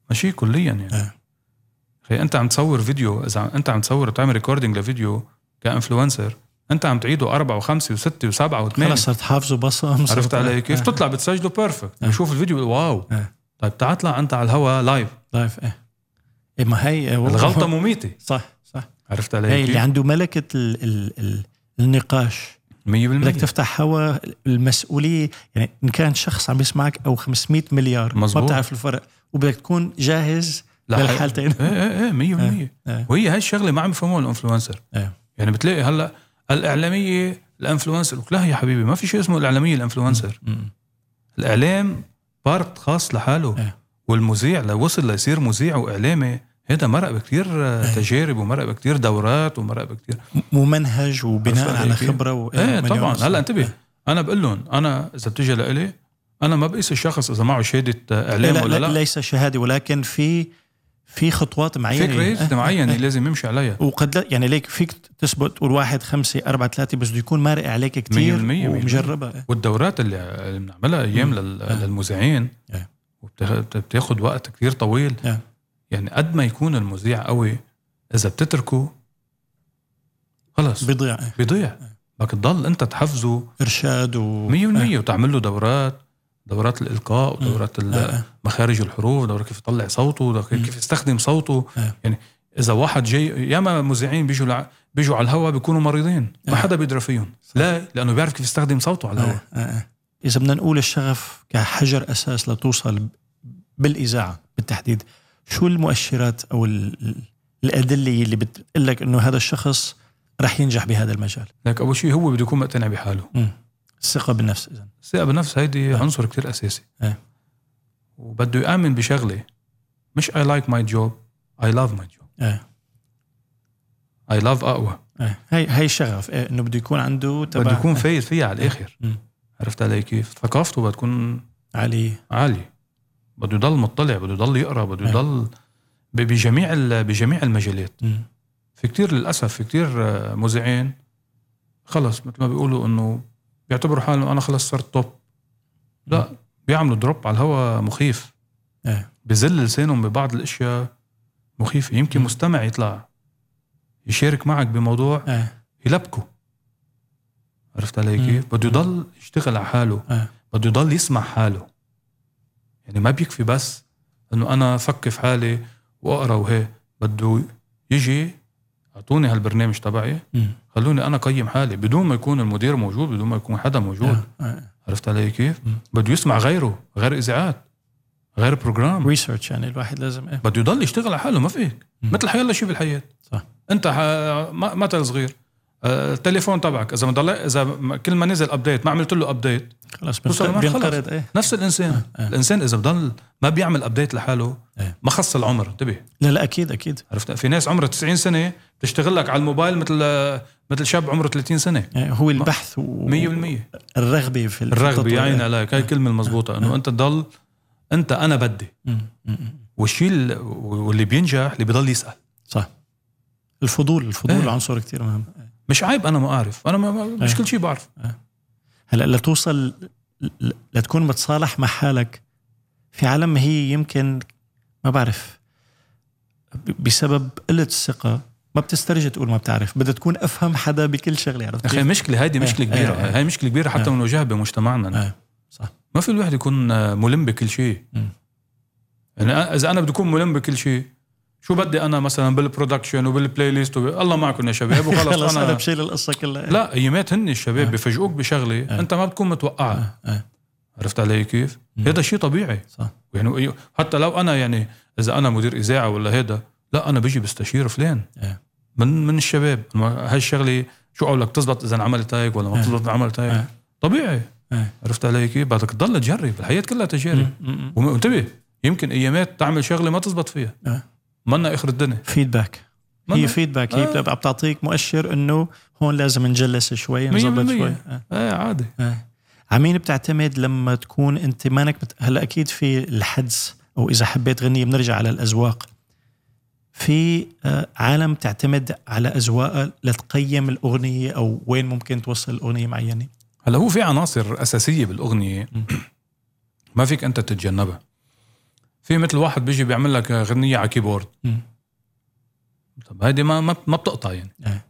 Speaker 2: ماشي كليا يعني
Speaker 1: إيه.
Speaker 2: اخي انت عم تصور فيديو اذا عم- انت عم تصور بتعمل ريكوردينج لفيديو كانفلونسر انت عم تعيده أربعة وخمسة وستة وسبعة وثمانية
Speaker 1: خلاص صرت حافظه بصم صرت-
Speaker 2: عرفت علي كيف
Speaker 1: آه،
Speaker 2: تطلع بتسجله بيرفكت
Speaker 1: إيه.
Speaker 2: بشوف الفيديو بقول واو
Speaker 1: إيه.
Speaker 2: طيب تعال اطلع انت على الهوا لايف
Speaker 1: لايف إيه إيه، ما هي آه، والله-
Speaker 2: الغلطة مميتة
Speaker 1: صح صح
Speaker 2: عرفت
Speaker 1: هي
Speaker 2: علي
Speaker 1: إيه، اللي
Speaker 2: كيف
Speaker 1: عنده ملكة ال ال ال النقاش بدك
Speaker 2: 100%
Speaker 1: تفتح هوا المسؤوليه يعني ان كان شخص عم يسمعك او 500 مليار
Speaker 2: مزبوط.
Speaker 1: ما بتعرف الفرق وبدك تكون جاهز
Speaker 2: لحق-
Speaker 1: للحالتين
Speaker 2: ايه ايه ايه 100%
Speaker 1: إيه.
Speaker 2: وهي هاي الشغله ما عم يفهموها الانفلونسر
Speaker 1: إيه.
Speaker 2: يعني بتلاقي هلا الاعلاميه الانفلونسر لك لا يا حبيبي ما في شيء اسمه الاعلاميه الانفلونسر
Speaker 1: مم.
Speaker 2: الاعلام بارت خاص لحاله
Speaker 1: إيه.
Speaker 2: والمذيع لو وصل ليصير مذيع واعلامي هذا مرق بكثير
Speaker 1: إيه.
Speaker 2: تجارب ومرق بكثير دورات ومرق بكثير
Speaker 1: ممنهج وبناء
Speaker 2: عرفت
Speaker 1: على
Speaker 2: عليك؟
Speaker 1: خبره و...
Speaker 2: ايه
Speaker 1: إيه، مليون
Speaker 2: طبعا
Speaker 1: قصة.
Speaker 2: هلا انتبه
Speaker 1: إيه.
Speaker 2: انا بقول لهم انا اذا بتجي لإلي انا ما بقيس الشخص اذا معه شهاده
Speaker 1: لا,
Speaker 2: اعلام
Speaker 1: لا,
Speaker 2: ولا
Speaker 1: لا,
Speaker 2: لا,
Speaker 1: ليس شهاده ولكن في في خطوات
Speaker 2: في
Speaker 1: معينه
Speaker 2: كريت
Speaker 1: إيه.
Speaker 2: معينه لازم يمشي عليها
Speaker 1: وقد لا يعني ليك فيك تثبت تقول واحد خمسة أربعة ثلاثة بس بده يكون مارق عليك
Speaker 2: مية
Speaker 1: كتير
Speaker 2: بالمية، مية
Speaker 1: ومجربة إيه.
Speaker 2: والدورات اللي اللي بنعملها ايام لل-
Speaker 1: آه.
Speaker 2: للمذيعين
Speaker 1: إيه.
Speaker 2: وبتاخد- بتاخد وقت كتير طويل
Speaker 1: إيه.
Speaker 2: يعني قد ما يكون المذيع قوي اذا بتتركه خلص
Speaker 1: بيضيع
Speaker 2: بيضيع
Speaker 1: آه.
Speaker 2: بدك تضل انت تحفزه
Speaker 1: ارشاد و إيه،
Speaker 2: 100% وتعمل له دورات دورات الالقاء ودورات ال-
Speaker 1: آه، آه.
Speaker 2: مخارج الحروف دورات كيف يطلع صوته دورات كيف يستخدم صوته
Speaker 1: آه.
Speaker 2: يعني اذا واحد جاي ياما مذيعين بيجوا لع... بيجوا على الهواء بيكونوا مريضين ما
Speaker 1: آه.
Speaker 2: حدا بيدرى فيهم لا لانه بيعرف كيف يستخدم صوته على الهواء
Speaker 1: آه، آه. اذا بدنا نقول الشغف كحجر اساس لتوصل بالاذاعه بالتحديد شو المؤشرات او ال- ال- الادله اللي بتقول لك انه هذا الشخص رح ينجح بهذا المجال
Speaker 2: لك اول شيء هو بده يكون مقتنع بحاله
Speaker 1: الثقه بالنفس اذا
Speaker 2: الثقه بالنفس هيدي عنصر كتير اساسي
Speaker 1: آه.
Speaker 2: وبده يامن بشغله مش I like my job I love my job
Speaker 1: آه.
Speaker 2: I love اقوى
Speaker 1: آه. هي هي شغف آه. انه بده يكون عنده تبع إيه.
Speaker 2: بده يكون فايز فيها على الاخر
Speaker 1: مم.
Speaker 2: عرفت علي كيف ثقافته بدها تكون
Speaker 1: علي
Speaker 2: عالي بده يضل مطلع بده يضل يقرا بده
Speaker 1: أي.
Speaker 2: يضل ب- بجميع ال- بجميع المجالات
Speaker 1: مم.
Speaker 2: في كتير للاسف في كتير آه، مذيعين خلص مثل ما بيقولوا انه بيعتبروا حالهم انا خلص صرت توب لا بيعملوا دروب على الهواء مخيف
Speaker 1: أي.
Speaker 2: بزل لسانهم ببعض الاشياء مخيفه يمكن
Speaker 1: مم.
Speaker 2: مستمع يطلع يشارك معك بموضوع
Speaker 1: آه.
Speaker 2: يلبكه عرفت علي كيف؟ بده يضل يشتغل على حاله
Speaker 1: آه.
Speaker 2: بده يضل يسمع حاله يعني ما بيكفي بس انه انا فك في حالي واقرا وهي بده يجي اعطوني هالبرنامج تبعي
Speaker 1: مم.
Speaker 2: خلوني انا قيم حالي بدون ما يكون المدير موجود بدون ما يكون حدا موجود
Speaker 1: آه،
Speaker 2: عرفت علي كيف؟
Speaker 1: مم.
Speaker 2: بده يسمع غيره غير اذاعات غير بروجرام
Speaker 1: ريسيرش يعني الواحد لازم إيه؟
Speaker 2: بده يضل يشتغل على حاله ما فيك
Speaker 1: مم.
Speaker 2: مثل حيلا شيء بالحياه
Speaker 1: صح.
Speaker 2: انت ح... ما- مثل صغير آه، التليفون تبعك اذا ما ضل اذا ما- كل ما نزل ابديت ما عملت له ابديت
Speaker 1: خلاص
Speaker 2: توصل لمرحلة.
Speaker 1: بينقرض ايه
Speaker 2: نفس الانسان
Speaker 1: آه.
Speaker 2: الانسان اذا بضل ما بيعمل ابديت لحاله
Speaker 1: إيه.
Speaker 2: ما خص العمر انتبه
Speaker 1: لا لا اكيد اكيد
Speaker 2: عرفت في ناس عمرها 90 سنه بتشتغل لك على الموبايل مثل مثل شاب عمره 30 سنه
Speaker 1: يعني هو البحث
Speaker 2: 100%
Speaker 1: و... الرغبه في
Speaker 2: الرغبه
Speaker 1: التطوير.
Speaker 2: يا عيني عليك هاي
Speaker 1: آه.
Speaker 2: الكلمه المضبوطه انه انت تضل انت انا بدي
Speaker 1: مم. مم.
Speaker 2: والشيء ال- واللي بينجح اللي بضل يسال
Speaker 1: صح الفضول الفضول
Speaker 2: إيه.
Speaker 1: ايه؟ عنصر كتير مهم
Speaker 2: مش عيب انا ما اعرف انا ما- ما- مش
Speaker 1: إيه.
Speaker 2: كل شيء بعرف
Speaker 1: هلا لتوصل ل- لتكون متصالح مع حالك في عالم هي يمكن ما بعرف ب- بسبب قله الثقه ما بتسترجي تقول ما بتعرف بدها تكون افهم حدا بكل شغله عرفت
Speaker 2: اخي
Speaker 1: كيف؟
Speaker 2: مشكله هيدي مشكله
Speaker 1: إيه،
Speaker 2: كبيره
Speaker 1: إيه، إيه.
Speaker 2: هاي مشكله كبيره حتى
Speaker 1: إيه.
Speaker 2: بنواجهها بمجتمعنا
Speaker 1: إيه، صح.
Speaker 2: ما في الواحد يكون آه، ملم بكل شيء
Speaker 1: مم.
Speaker 2: يعني أنا- اذا انا بدي اكون ملم بكل شيء شو بدي انا مثلا بالبرودكشن وبالبلاي ليست وب... الله معكم يا شباب وخلص
Speaker 1: خلص انا
Speaker 2: انا
Speaker 1: بشيل القصه كلها
Speaker 2: لا ايامات هن الشباب
Speaker 1: آه.
Speaker 2: بفاجئوك بشغله
Speaker 1: إيه.
Speaker 2: انت ما بتكون متوقعها
Speaker 1: آه، آه،
Speaker 2: عرفت علي كيف؟
Speaker 1: مم.
Speaker 2: هذا شيء طبيعي
Speaker 1: صح
Speaker 2: يعني أي- حتى لو انا يعني اذا انا مدير اذاعه ولا هيدا لا انا بيجي بستشير فلان
Speaker 1: إيه.
Speaker 2: من من الشباب ما هاي الشغله شو اقول لك تزبط اذا عملت هيك ولا ما
Speaker 1: إيه.
Speaker 2: بتزبط إذا عملت هيك
Speaker 1: إيه.
Speaker 2: طبيعي
Speaker 1: إيه.
Speaker 2: عرفت علي كيف؟ بدك تضل تجرب الحياه كلها تجارب وانتبه يمكن ايامات تعمل شغله ما تزبط فيها
Speaker 1: إيه.
Speaker 2: منا اخر الدنيا
Speaker 1: فيدباك هي
Speaker 2: منا-
Speaker 1: فيدباك هي
Speaker 2: آه.
Speaker 1: بتبقى- بتعطيك مؤشر انه هون لازم نجلس شوي نظبط
Speaker 2: 100%.
Speaker 1: شوي آه.
Speaker 2: ايه عادي
Speaker 1: عمين بتعتمد لما تكون انت مانك مت... هلا اكيد في الحدس او اذا حبيت غنية بنرجع على الاذواق في آه، عالم تعتمد على اذواقها لتقيم الاغنيه او وين ممكن توصل الاغنيه معينه
Speaker 2: هلا هو في عناصر اساسيه بالاغنيه
Speaker 1: م.
Speaker 2: ما فيك انت تتجنبها في مثل واحد بيجي بيعمل لك غنيه على كيبورد
Speaker 1: م.
Speaker 2: طب هيدي ما ما ما بتقطع يعني
Speaker 1: إيه.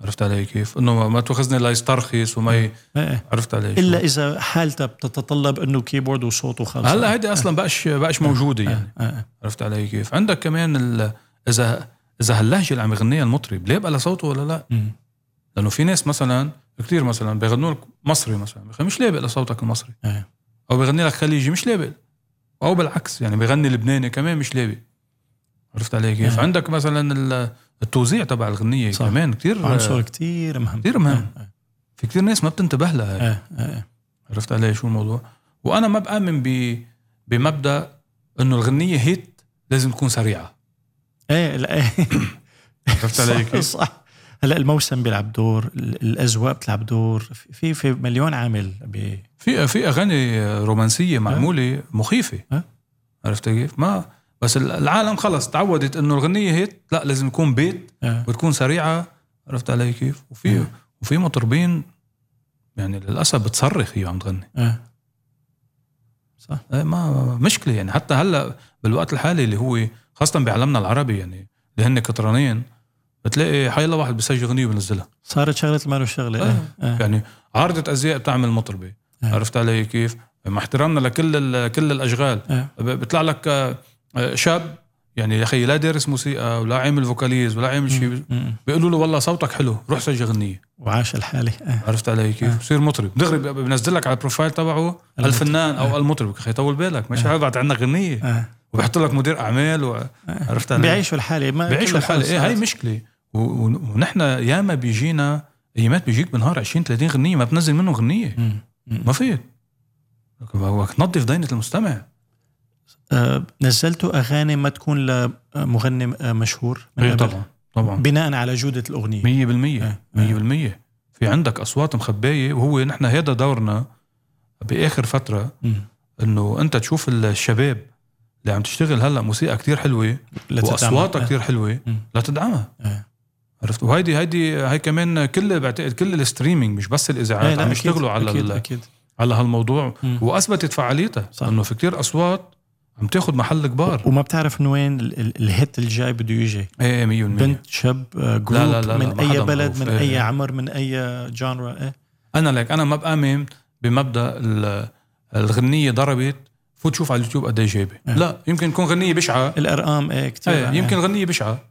Speaker 2: عرفت علي كيف؟ انه ما تاخذني لا يسترخص وما ي...
Speaker 1: إيه إيه.
Speaker 2: عرفت علي شو؟
Speaker 1: الا اذا حالتها بتتطلب انه كيبورد وصوت وخلص
Speaker 2: هلا هيدي اصلا بقاش بقاش موجوده يعني
Speaker 1: آه، آه.
Speaker 2: عرفت علي كيف؟ عندك كمان ال... اذا اذا هاللهجه اللي عم يغنيها المطرب ليه بقى لها صوته ولا لا؟
Speaker 1: م.
Speaker 2: لانه في ناس مثلا كثير مثلا بيغنوا لك مصري مثلا بيقول مش لابق لصوتك المصري
Speaker 1: إيه.
Speaker 2: او بيغني لك خليجي مش لابق او بالعكس يعني بيغني لبناني كمان مش لابق عرفت علي كيف؟
Speaker 1: إيه.
Speaker 2: عندك مثلا ال- التوزيع تبع الغنيه
Speaker 1: صح.
Speaker 2: كمان كثير
Speaker 1: عنصر كتير مهم
Speaker 2: آه. كتير مهم.
Speaker 1: آه،
Speaker 2: في كثير ناس ما بتنتبه لها
Speaker 1: آه، آه،
Speaker 2: عرفت علي شو الموضوع؟ وانا ما بامن ب... بمبدا انه الغنيه هيت لازم تكون سريعه
Speaker 1: ايه لا إيه.
Speaker 2: عرفت علي
Speaker 1: صح,
Speaker 2: كيف؟
Speaker 1: صح هلا الموسم بيلعب دور ال- الاذواق بتلعب دور في في مليون عامل ب...
Speaker 2: في في اغاني رومانسيه معموله مخيفه
Speaker 1: أه.
Speaker 2: عرفت كيف؟ ما بس ال- العالم خلص تعودت انه الغنيه هيت لا لازم يكون بيت
Speaker 1: آه.
Speaker 2: وتكون سريعه عرفت علي كيف؟ وفي
Speaker 1: أه.
Speaker 2: وفي مطربين يعني للاسف بتصرخ هي وعم تغني
Speaker 1: آه.
Speaker 2: إيه ما مشكله يعني حتى هلا بالوقت الحالي اللي هو خاصه بعالمنا العربي يعني اللي هن كترانين بتلاقي حيلا واحد بيسجل اغنيه وبنزلها
Speaker 1: صارت شغله ما له شغله
Speaker 2: آه.
Speaker 1: آه. آه.
Speaker 2: يعني عارضه ازياء بتعمل مطربه
Speaker 1: آه.
Speaker 2: عرفت علي كيف؟ مع احترامنا لكل ال- كل الاشغال
Speaker 1: آه.
Speaker 2: ب- بيطلع لك آه، آه، شاب يعني يا اخي لا دارس موسيقى ولا عامل فوكاليز ولا عامل شيء
Speaker 1: مم.
Speaker 2: بيقولوا له والله صوتك حلو روح سجل اغنيه
Speaker 1: وعاش الحالي آه.
Speaker 2: عرفت علي كيف؟ بصير مطرب دغري بي- بينزل لك على البروفايل تبعه الفنان او المطرب اخي طول بالك مش هبعت عندك اغنيه
Speaker 1: آه.
Speaker 2: وبحط لك مدير اعمال و... عرفت علي؟
Speaker 1: بيعيشوا الحالي ما
Speaker 2: بيعيشوا
Speaker 1: كلها
Speaker 2: الحالة
Speaker 1: خلص.
Speaker 2: إيه هاي مشكلة و- و- ونحن ياما بيجينا ايامات بيجيك بالنهار 20 30 غنية ما بتنزل منه غنية
Speaker 1: مم. مم.
Speaker 2: ما في لك هو تنظف دينة المستمع
Speaker 1: آه، نزلتوا اغاني ما تكون لمغني آه، مشهور من
Speaker 2: ايه
Speaker 1: قبل؟
Speaker 2: طبعا طبعا
Speaker 1: بناء على جوده الاغنيه
Speaker 2: 100% 100%
Speaker 1: آه.
Speaker 2: في عندك اصوات مخباية وهو نحن هذا دورنا باخر فترة
Speaker 1: مم.
Speaker 2: انه انت تشوف الشباب اللي عم تشتغل هلا موسيقى كتير حلوه
Speaker 1: لا تتعمل.
Speaker 2: واصواتها كتير حلوه
Speaker 1: إيه. مم.
Speaker 2: لا تدعمها
Speaker 1: آه.
Speaker 2: عرفت وهيدي هيدي هاي كمان كل بعتقد كل الستريمينج مش بس
Speaker 1: إيه،
Speaker 2: الاذاعات
Speaker 1: لا،
Speaker 2: عم
Speaker 1: أكيد،
Speaker 2: يشتغلوا على
Speaker 1: اكيد
Speaker 2: ال-
Speaker 1: اكيد
Speaker 2: على هالموضوع
Speaker 1: مم.
Speaker 2: واثبتت فعاليتها
Speaker 1: صح.
Speaker 2: انه في كتير اصوات عم تاخذ محل كبار
Speaker 1: وما بتعرف من وين ال- ال- الهيت الجاي بده يجي
Speaker 2: ايه 100%
Speaker 1: بنت شاب آه، جروب
Speaker 2: لا، لا،
Speaker 1: من
Speaker 2: ما
Speaker 1: اي
Speaker 2: حدا
Speaker 1: بلد
Speaker 2: معروف.
Speaker 1: من
Speaker 2: إيه.
Speaker 1: اي عمر من اي جانرا ايه
Speaker 2: انا لك انا ما بامن بمبدا ال- الغنيه ضربت فوت شوف على اليوتيوب قد ايه جايبه
Speaker 1: إيه.
Speaker 2: لا يمكن تكون غنيه بشعه
Speaker 1: الارقام ايه كثير
Speaker 2: ايه يمكن غنيه بشعه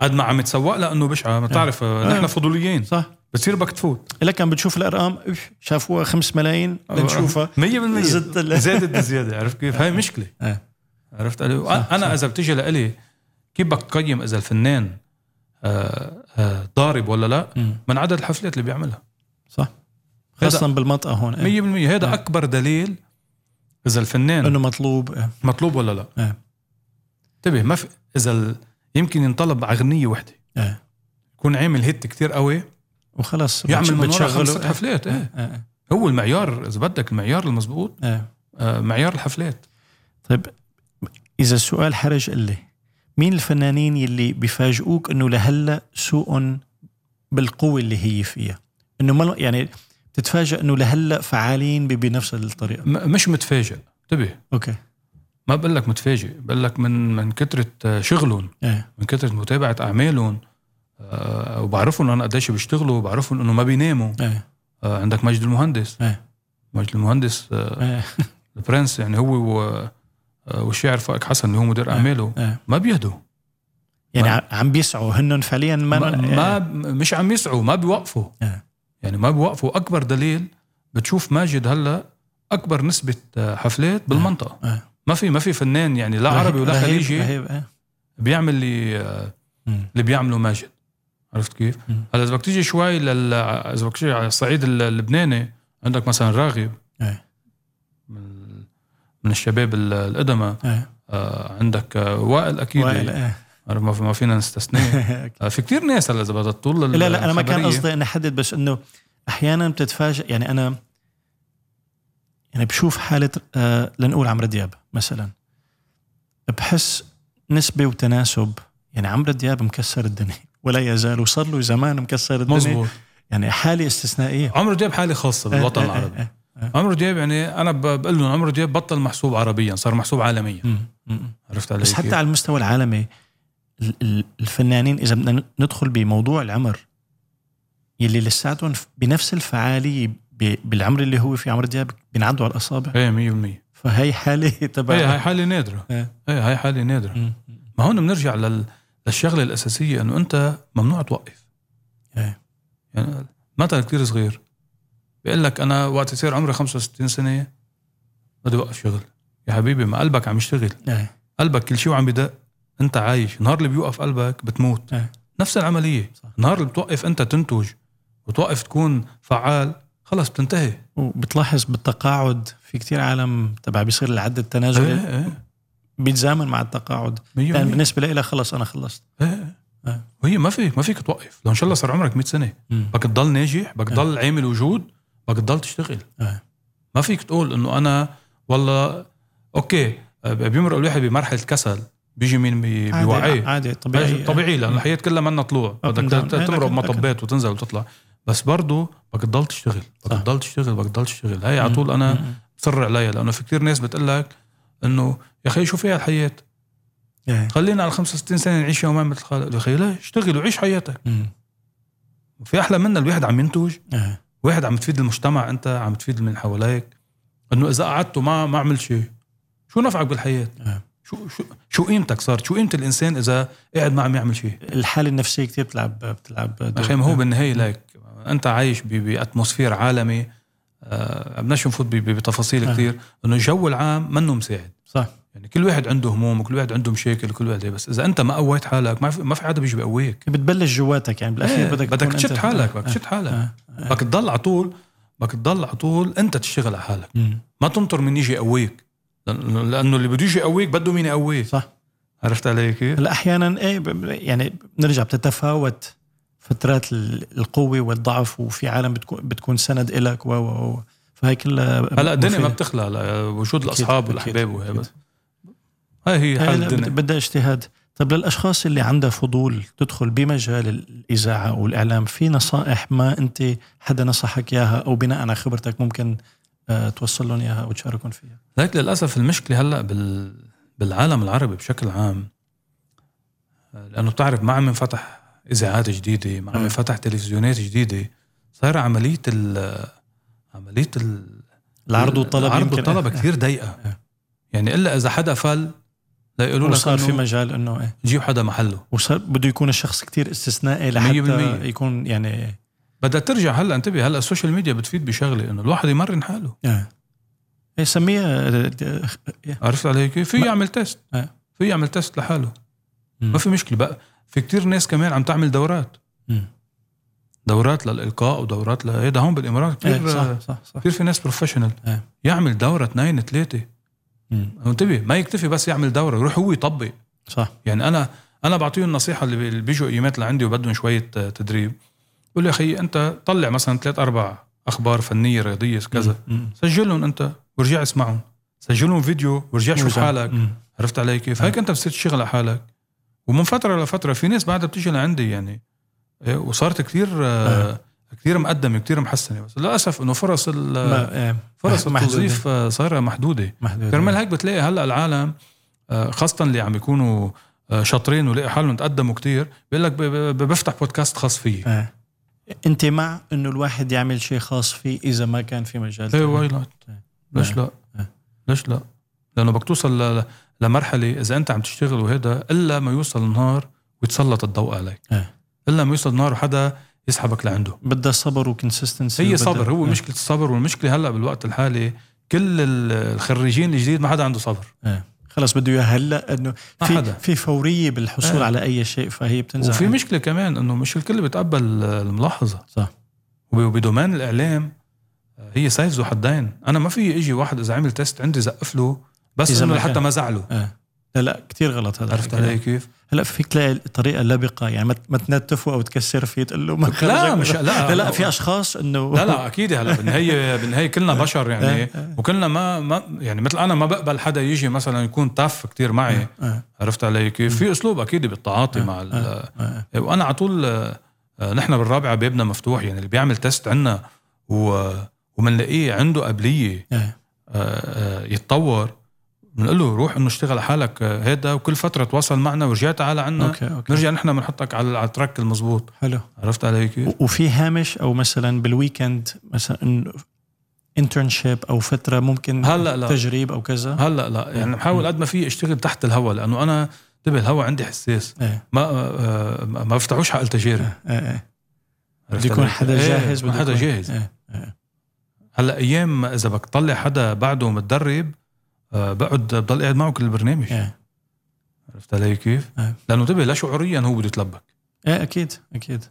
Speaker 2: قد ما عم تسوق لها انه بشعه ما بتعرف نحن فضوليين
Speaker 1: إيه. صح
Speaker 2: بتصير بدك تفوت
Speaker 1: لك عم بتشوف الارقام أوف، شافوها 5 ملايين بنشوفها
Speaker 2: 100%
Speaker 1: زدت ال-
Speaker 2: زادت زياده عرفت كيف؟ هاي مشكله
Speaker 1: إيه.
Speaker 2: عرفت علي؟
Speaker 1: صح،
Speaker 2: انا
Speaker 1: صح.
Speaker 2: اذا بتجي لإلي كيف بدك تقيم اذا الفنان آه، آه، ضارب ولا لا
Speaker 1: مم.
Speaker 2: من عدد الحفلات اللي بيعملها
Speaker 1: صح
Speaker 2: هذا-
Speaker 1: خاصه بالمنطقه هون
Speaker 2: 100%
Speaker 1: إيه.
Speaker 2: هذا
Speaker 1: إيه.
Speaker 2: اكبر دليل اذا الفنان
Speaker 1: انه مطلوب إيه.
Speaker 2: مطلوب ولا لا
Speaker 1: إيه.
Speaker 2: انتبه ما في اذا ال- يمكن ينطلب على اغنيه وحده
Speaker 1: إيه.
Speaker 2: يكون عامل هيت كتير قوي
Speaker 1: وخلص
Speaker 2: يعمل من ورا
Speaker 1: بتشغله.
Speaker 2: خمس ست حفلات
Speaker 1: إيه.
Speaker 2: ايه
Speaker 1: إيه.
Speaker 2: هو المعيار اذا بدك المعيار المزبوط
Speaker 1: إيه.
Speaker 2: آه، معيار الحفلات
Speaker 1: طيب اذا السؤال حرج لي مين الفنانين يلي بيفاجئوك انه لهلا سوقهم بالقوه اللي هي فيها انه ما يعني بتتفاجئ انه لهلا فعالين ب- بنفس الطريقه
Speaker 2: م- مش متفاجئ انتبه
Speaker 1: اوكي
Speaker 2: ما بقول لك متفاجئ بقول لك من من كثره آه، شغلهم
Speaker 1: ايه
Speaker 2: من كثره متابعه اعمالهم آه، وبعرفهم انا قديش بيشتغلوا وبعرفهم انه ما بيناموا
Speaker 1: ايه
Speaker 2: آه، عندك مجد المهندس
Speaker 1: إيه.
Speaker 2: مجد المهندس آه،
Speaker 1: ايه
Speaker 2: البرنس يعني هو و... آه، والشاعر فائق حسن اللي هو مدير اعماله
Speaker 1: إيه.
Speaker 2: ما بيهدوا
Speaker 1: يعني
Speaker 2: ما-
Speaker 1: ع- عم بيسعوا هن فعليا ما آه.
Speaker 2: ما, ما مش عم يسعوا ما بيوقفوا
Speaker 1: إيه.
Speaker 2: يعني ما بيوقفوا اكبر دليل بتشوف ماجد هلا اكبر نسبه حفلات بالمنطقه
Speaker 1: إيه.
Speaker 2: ما في ما في فنان يعني لا عربي ولا
Speaker 1: رهيب-
Speaker 2: خليجي
Speaker 1: رهيب ايه
Speaker 2: بيعمل آه، اللي
Speaker 1: مم.
Speaker 2: اللي بيعمله ماجد عرفت كيف؟
Speaker 1: مم.
Speaker 2: هلا اذا بدك تيجي شوي لل اذا بدك تيجي على الصعيد اللبناني عندك مثلا راغب
Speaker 1: إيه.
Speaker 2: من من الشباب ال- القدماء
Speaker 1: ايه
Speaker 2: آه، عندك آه، وائل اكيد
Speaker 1: وائل،
Speaker 2: وائل.
Speaker 1: إيه.
Speaker 2: ما في- ما فينا نستثنيه
Speaker 1: أوكي.
Speaker 2: آه، في كتير ناس هلا اذا بدها تطول
Speaker 1: لا لا انا ما كان
Speaker 2: الخبرية.
Speaker 1: قصدي اني احدد بس انه احيانا بتتفاجئ يعني انا يعني بشوف حاله آه لنقول عمرو دياب مثلا بحس نسبه وتناسب يعني عمرو دياب مكسر الدنيا ولا يزال وصار له زمان مكسر الدنيا
Speaker 2: مزبوط
Speaker 1: يعني حاله استثنائيه
Speaker 2: عمرو دياب حاله خاصه بالوطن
Speaker 1: آه، آه،
Speaker 2: العربي
Speaker 1: آه،
Speaker 2: عمرو دياب يعني انا ب- بقول لهم عمرو دياب بطل محسوب عربيا صار محسوب عالميا
Speaker 1: آه. مم، مم.
Speaker 2: عرفت علي
Speaker 1: بس
Speaker 2: كيف؟
Speaker 1: حتى على المستوى العالمي ال- ال- الفنانين اذا بدنا ندخل بموضوع العمر يلي لساتهم ف- بنفس الفعاليه ب- بالعمر اللي هو في عمرو دياب بينعدوا على الاصابع
Speaker 2: ايه 100%
Speaker 1: فهي حاله تبع
Speaker 2: ايه هاي حاله نادره
Speaker 1: إيه.
Speaker 2: ايه هاي حاله نادره
Speaker 1: مم.
Speaker 2: ما هون بنرجع لل... للشغله الاساسيه انه انت ممنوع توقف
Speaker 1: إيه.
Speaker 2: يعني مثل كتير صغير بيقول لك انا وقت يصير عمري 65 سنه بدي اوقف شغل يا حبيبي ما قلبك عم يشتغل
Speaker 1: إيه.
Speaker 2: قلبك كل شيء وعم بدق انت عايش النهار اللي بيوقف قلبك بتموت
Speaker 1: إيه.
Speaker 2: نفس العمليه
Speaker 1: صح.
Speaker 2: النهار اللي بتوقف انت تنتج وتوقف تكون فعال خلص بتنتهي
Speaker 1: وبتلاحظ بالتقاعد في كتير عالم تبع بيصير العد التنازلي
Speaker 2: ايه ايه
Speaker 1: بيتزامن مع التقاعد
Speaker 2: مية
Speaker 1: يعني
Speaker 2: مية.
Speaker 1: بالنسبه لي خلص انا خلصت
Speaker 2: ايه
Speaker 1: إيه.
Speaker 2: ايه وهي ما في ما فيك توقف لو ان شاء الله صار عمرك 100 سنه
Speaker 1: مم.
Speaker 2: بدك تضل ناجح بدك
Speaker 1: آه.
Speaker 2: تضل عامل وجود بدك تضل تشتغل
Speaker 1: إيه.
Speaker 2: ما فيك تقول انه انا والله اوكي بيمرق الواحد بمرحله كسل بيجي مين بي-
Speaker 1: عادي
Speaker 2: بيوعيه
Speaker 1: عادي طبيعي آه. إيه.
Speaker 2: طبيعي لانه الحياه كلها منا طلوع
Speaker 1: and
Speaker 2: بدك
Speaker 1: down. إيه،
Speaker 2: تمرق
Speaker 1: لكن-
Speaker 2: مطبات وتنزل وتطلع بس برضه بدك تضل تشتغل
Speaker 1: صح.
Speaker 2: بدك تضل تشتغل بدك تضل تشتغل هي على طول
Speaker 1: مم.
Speaker 2: انا بصر عليها لانه في كتير ناس بتقول لك انه يا اخي شو فيها الحياه
Speaker 1: إيه.
Speaker 2: خلينا على 65 سنه نعيش يومين مثل خالق يا اخي لا اشتغل وعيش حياتك
Speaker 1: مم.
Speaker 2: في احلى منا الواحد عم ينتج
Speaker 1: إيه.
Speaker 2: واحد عم تفيد المجتمع انت عم تفيد من حواليك انه اذا قعدت وما ما عمل شيء شو نفعك بالحياه
Speaker 1: إيه.
Speaker 2: شو شو شو قيمتك صارت شو قيمه الانسان اذا قاعد ما عم يعمل شيء
Speaker 1: الحاله النفسيه كثير بتلعب بتلعب دور.
Speaker 2: اخي ما هو بالنهايه لك انت عايش ب- باتموسفير عالمي آه، بدناش نفوت ب- ب- بتفاصيل
Speaker 1: آه.
Speaker 2: كثير انه الجو العام منه مساعد
Speaker 1: صح
Speaker 2: يعني كل واحد عنده هموم وكل واحد عنده مشاكل وكل واحد هي. بس اذا انت ما قويت حالك ما في ما في حدا بيجي بيقويك
Speaker 1: بتبلش جواتك يعني بالاخير
Speaker 2: إيه،
Speaker 1: بدك
Speaker 2: بدك
Speaker 1: تكون
Speaker 2: تشد
Speaker 1: أنت-
Speaker 2: حالك بدك
Speaker 1: آه.
Speaker 2: تشد حالك
Speaker 1: آه. آه.
Speaker 2: بدك تضل على طول بدك تضل على طول انت تشتغل على حالك
Speaker 1: مم.
Speaker 2: ما تنطر من يجي يقويك لأن- لانه اللي بده يجي يقويك بده مين يقويك
Speaker 1: صح
Speaker 2: عرفت علي كيف؟
Speaker 1: هلا احيانا ايه ب- ب- يعني بنرجع بتتفاوت فترات ال- القوه والضعف وفي عالم بتكون بتكون سند إلك و و و فهي كلها
Speaker 2: هلا الدنيا ما
Speaker 1: مفيدة.
Speaker 2: بتخلى هلا وجود
Speaker 1: أكيد،
Speaker 2: الاصحاب
Speaker 1: أكيد،
Speaker 2: والاحباب وهي
Speaker 1: أكيد.
Speaker 2: بس هاي هي
Speaker 1: هي
Speaker 2: حال
Speaker 1: لا، بد-
Speaker 2: الدنيا
Speaker 1: بدها اجتهاد طب للاشخاص اللي عندها فضول تدخل بمجال الاذاعه او الاعلام في نصائح ما انت حدا نصحك اياها او بناء على خبرتك ممكن آه، توصل لهم اياها او تشاركهم فيها
Speaker 2: لكن للاسف المشكله هلا بال... بالعالم العربي بشكل عام لانه بتعرف ما عم ينفتح اذاعات جديده ما عم
Speaker 1: مم.
Speaker 2: ينفتح تلفزيونات جديده صايره عمليه ال... عمليه ال...
Speaker 1: العرض والطلب
Speaker 2: العرض
Speaker 1: يمكن
Speaker 2: والطلب كثير ضيقه
Speaker 1: إيه.
Speaker 2: يعني الا اذا حدا فل لا يقولوا لك
Speaker 1: وصار في
Speaker 2: إنه إيه.
Speaker 1: مجال انه ايه
Speaker 2: جيب حدا محله
Speaker 1: وصار بده يكون الشخص كتير استثنائي
Speaker 2: مية بالمية.
Speaker 1: لحتى يكون يعني
Speaker 2: بدها ترجع هلا انتبه هلا السوشيال ميديا بتفيد بشغله انه الواحد يمرن حاله
Speaker 1: آه. ايه سميها إيه،
Speaker 2: عرفت علي كيف؟ في
Speaker 1: ما-
Speaker 2: يعمل تيست
Speaker 1: إيه.
Speaker 2: في يعمل تيست لحاله ما في مشكله بقى في كتير ناس كمان عم تعمل دورات
Speaker 1: مم.
Speaker 2: دورات للالقاء ودورات لهيدا هون بالامارات
Speaker 1: إيه،
Speaker 2: كثير
Speaker 1: صح صح صح
Speaker 2: كثير في ناس بروفيشنال
Speaker 1: إيه.
Speaker 2: يعمل دوره اثنين ثلاثه
Speaker 1: مم.
Speaker 2: انتبه ما يكتفي بس يعمل دوره يروح هو يطبق
Speaker 1: صح
Speaker 2: يعني انا انا بعطيهم النصيحه اللي بي- اللي بيجوا ايمات لعندي وبدهم شويه آه، تدريب بقول له يا اخي انت طلع مثلا ثلاث اربع اخبار فنيه رياضيه كذا
Speaker 1: مم.
Speaker 2: سجلهم انت وارجع اسمعهم سجلهم فيديو وارجع شوف حالك
Speaker 1: مم.
Speaker 2: عرفت علي كيف؟ هيك انت بتصير تشتغل على حالك ومن فتره لفتره في ناس بعدها بتيجي لعندي يعني إيه، وصارت كثير آه. كثير مقدمه كثير محسنه بس للاسف انه فرص ال-
Speaker 1: ما- إيه،
Speaker 2: فرص
Speaker 1: محدودة.
Speaker 2: التوظيف آه، صايره محدوده
Speaker 1: محدود.
Speaker 2: آه، كرمال هيك بتلاقي هلا العالم آه، خاصه اللي عم يكونوا آه، شاطرين ولاقي حالهم تقدموا كثير بيقول لك ب- ب- ب- بفتح بودكاست خاص فيي
Speaker 1: آه. انت مع انه الواحد يعمل شيء خاص فيه اذا ما كان في مجال
Speaker 2: ايه
Speaker 1: تاني؟
Speaker 2: واي نوت
Speaker 1: إيه.
Speaker 2: ليش لا؟
Speaker 1: إيه.
Speaker 2: ليش لا؟ لانه بدك توصل ل- ل- لمرحله اذا انت عم تشتغل وهذا الا ما يوصل النهار ويتسلط الضوء عليك
Speaker 1: إيه.
Speaker 2: الا ما يوصل النهار وحدا يسحبك لعنده
Speaker 1: بدها صبر وكونسستنسي
Speaker 2: هي صبر
Speaker 1: إيه.
Speaker 2: هو مشكله الصبر والمشكله هلا بالوقت الحالي كل ال- الخريجين الجديد ما حدا عنده صبر
Speaker 1: خلاص بده اياه هلا انه
Speaker 2: ما
Speaker 1: في
Speaker 2: حدا.
Speaker 1: في فوريه بالحصول
Speaker 2: آه.
Speaker 1: على اي شيء فهي بتنزل
Speaker 2: وفي
Speaker 1: عن-
Speaker 2: مشكله كمان انه مش الكل بيتقبل الملاحظه
Speaker 1: صح.
Speaker 2: وب- وبدومين الاعلام هي سيف ذو حدين انا ما في اجي واحد اذا عمل تيست عندي زقف له بس
Speaker 1: إذا ما
Speaker 2: انه
Speaker 1: إيه. كان.
Speaker 2: لحتى ما زعله
Speaker 1: لا لا كثير غلط هذا
Speaker 2: عرفت
Speaker 1: الحكي.
Speaker 2: علي كيف؟
Speaker 1: هلا فيك تلاقي طريقه لبقه يعني ما- ما تنتفه او تكسر فيه تقول له ما خرجك.
Speaker 2: مش- لا.
Speaker 1: لا, لا في اشخاص انه
Speaker 2: لا لا اكيد هلا بالنهايه بالنهايه كلنا بشر
Speaker 1: آه.
Speaker 2: يعني وكلنا ما ما يعني مثل انا ما بقبل حدا يجي مثلا يكون تاف كتير معي
Speaker 1: آه.
Speaker 2: عرفت علي كيف؟ في اسلوب اكيد بالتعاطي مع ال-
Speaker 1: آه.
Speaker 2: وانا على طول آه، آه، نحن بالرابعه بيبنا مفتوح يعني اللي بيعمل تيست عنا و ومنلاقيه عنده قبليه
Speaker 1: إيه.
Speaker 2: آه، آه، يتطور بنقول له روح انه اشتغل على حالك آه، هيدا وكل فتره تواصل معنا ورجع تعال عنا
Speaker 1: اوكي اوكي
Speaker 2: نرجع نحن بنحطك على على التراك المزبوط
Speaker 1: حلو
Speaker 2: عرفت علي كيف؟
Speaker 1: و- وفي هامش او مثلا بالويكند مثلا انترنشيب او فتره ممكن
Speaker 2: هلا لا.
Speaker 1: تجريب او كذا
Speaker 2: هلا لا يعني بحاول قد ما في اشتغل تحت الهواء لانه انا انتبه الهواء عندي حساس
Speaker 1: ايه
Speaker 2: ما آه، ما ما بفتحوش حق التجارب
Speaker 1: ايه ايه
Speaker 2: عرفت
Speaker 1: بده يكون
Speaker 2: علي؟
Speaker 1: حدا
Speaker 2: إيه،
Speaker 1: جاهز
Speaker 2: يكون
Speaker 1: بده
Speaker 2: حدا
Speaker 1: يكون-
Speaker 2: جاهز
Speaker 1: إيه.
Speaker 2: هلا ايام اذا بدك تطلع حدا بعده متدرب آه، بقعد بضل قاعد معه كل البرنامج
Speaker 1: إيه.
Speaker 2: عرفت علي كيف؟
Speaker 1: إيه.
Speaker 2: لانه انتبه لا شعوريا هو بده يتلبك
Speaker 1: ايه اكيد اكيد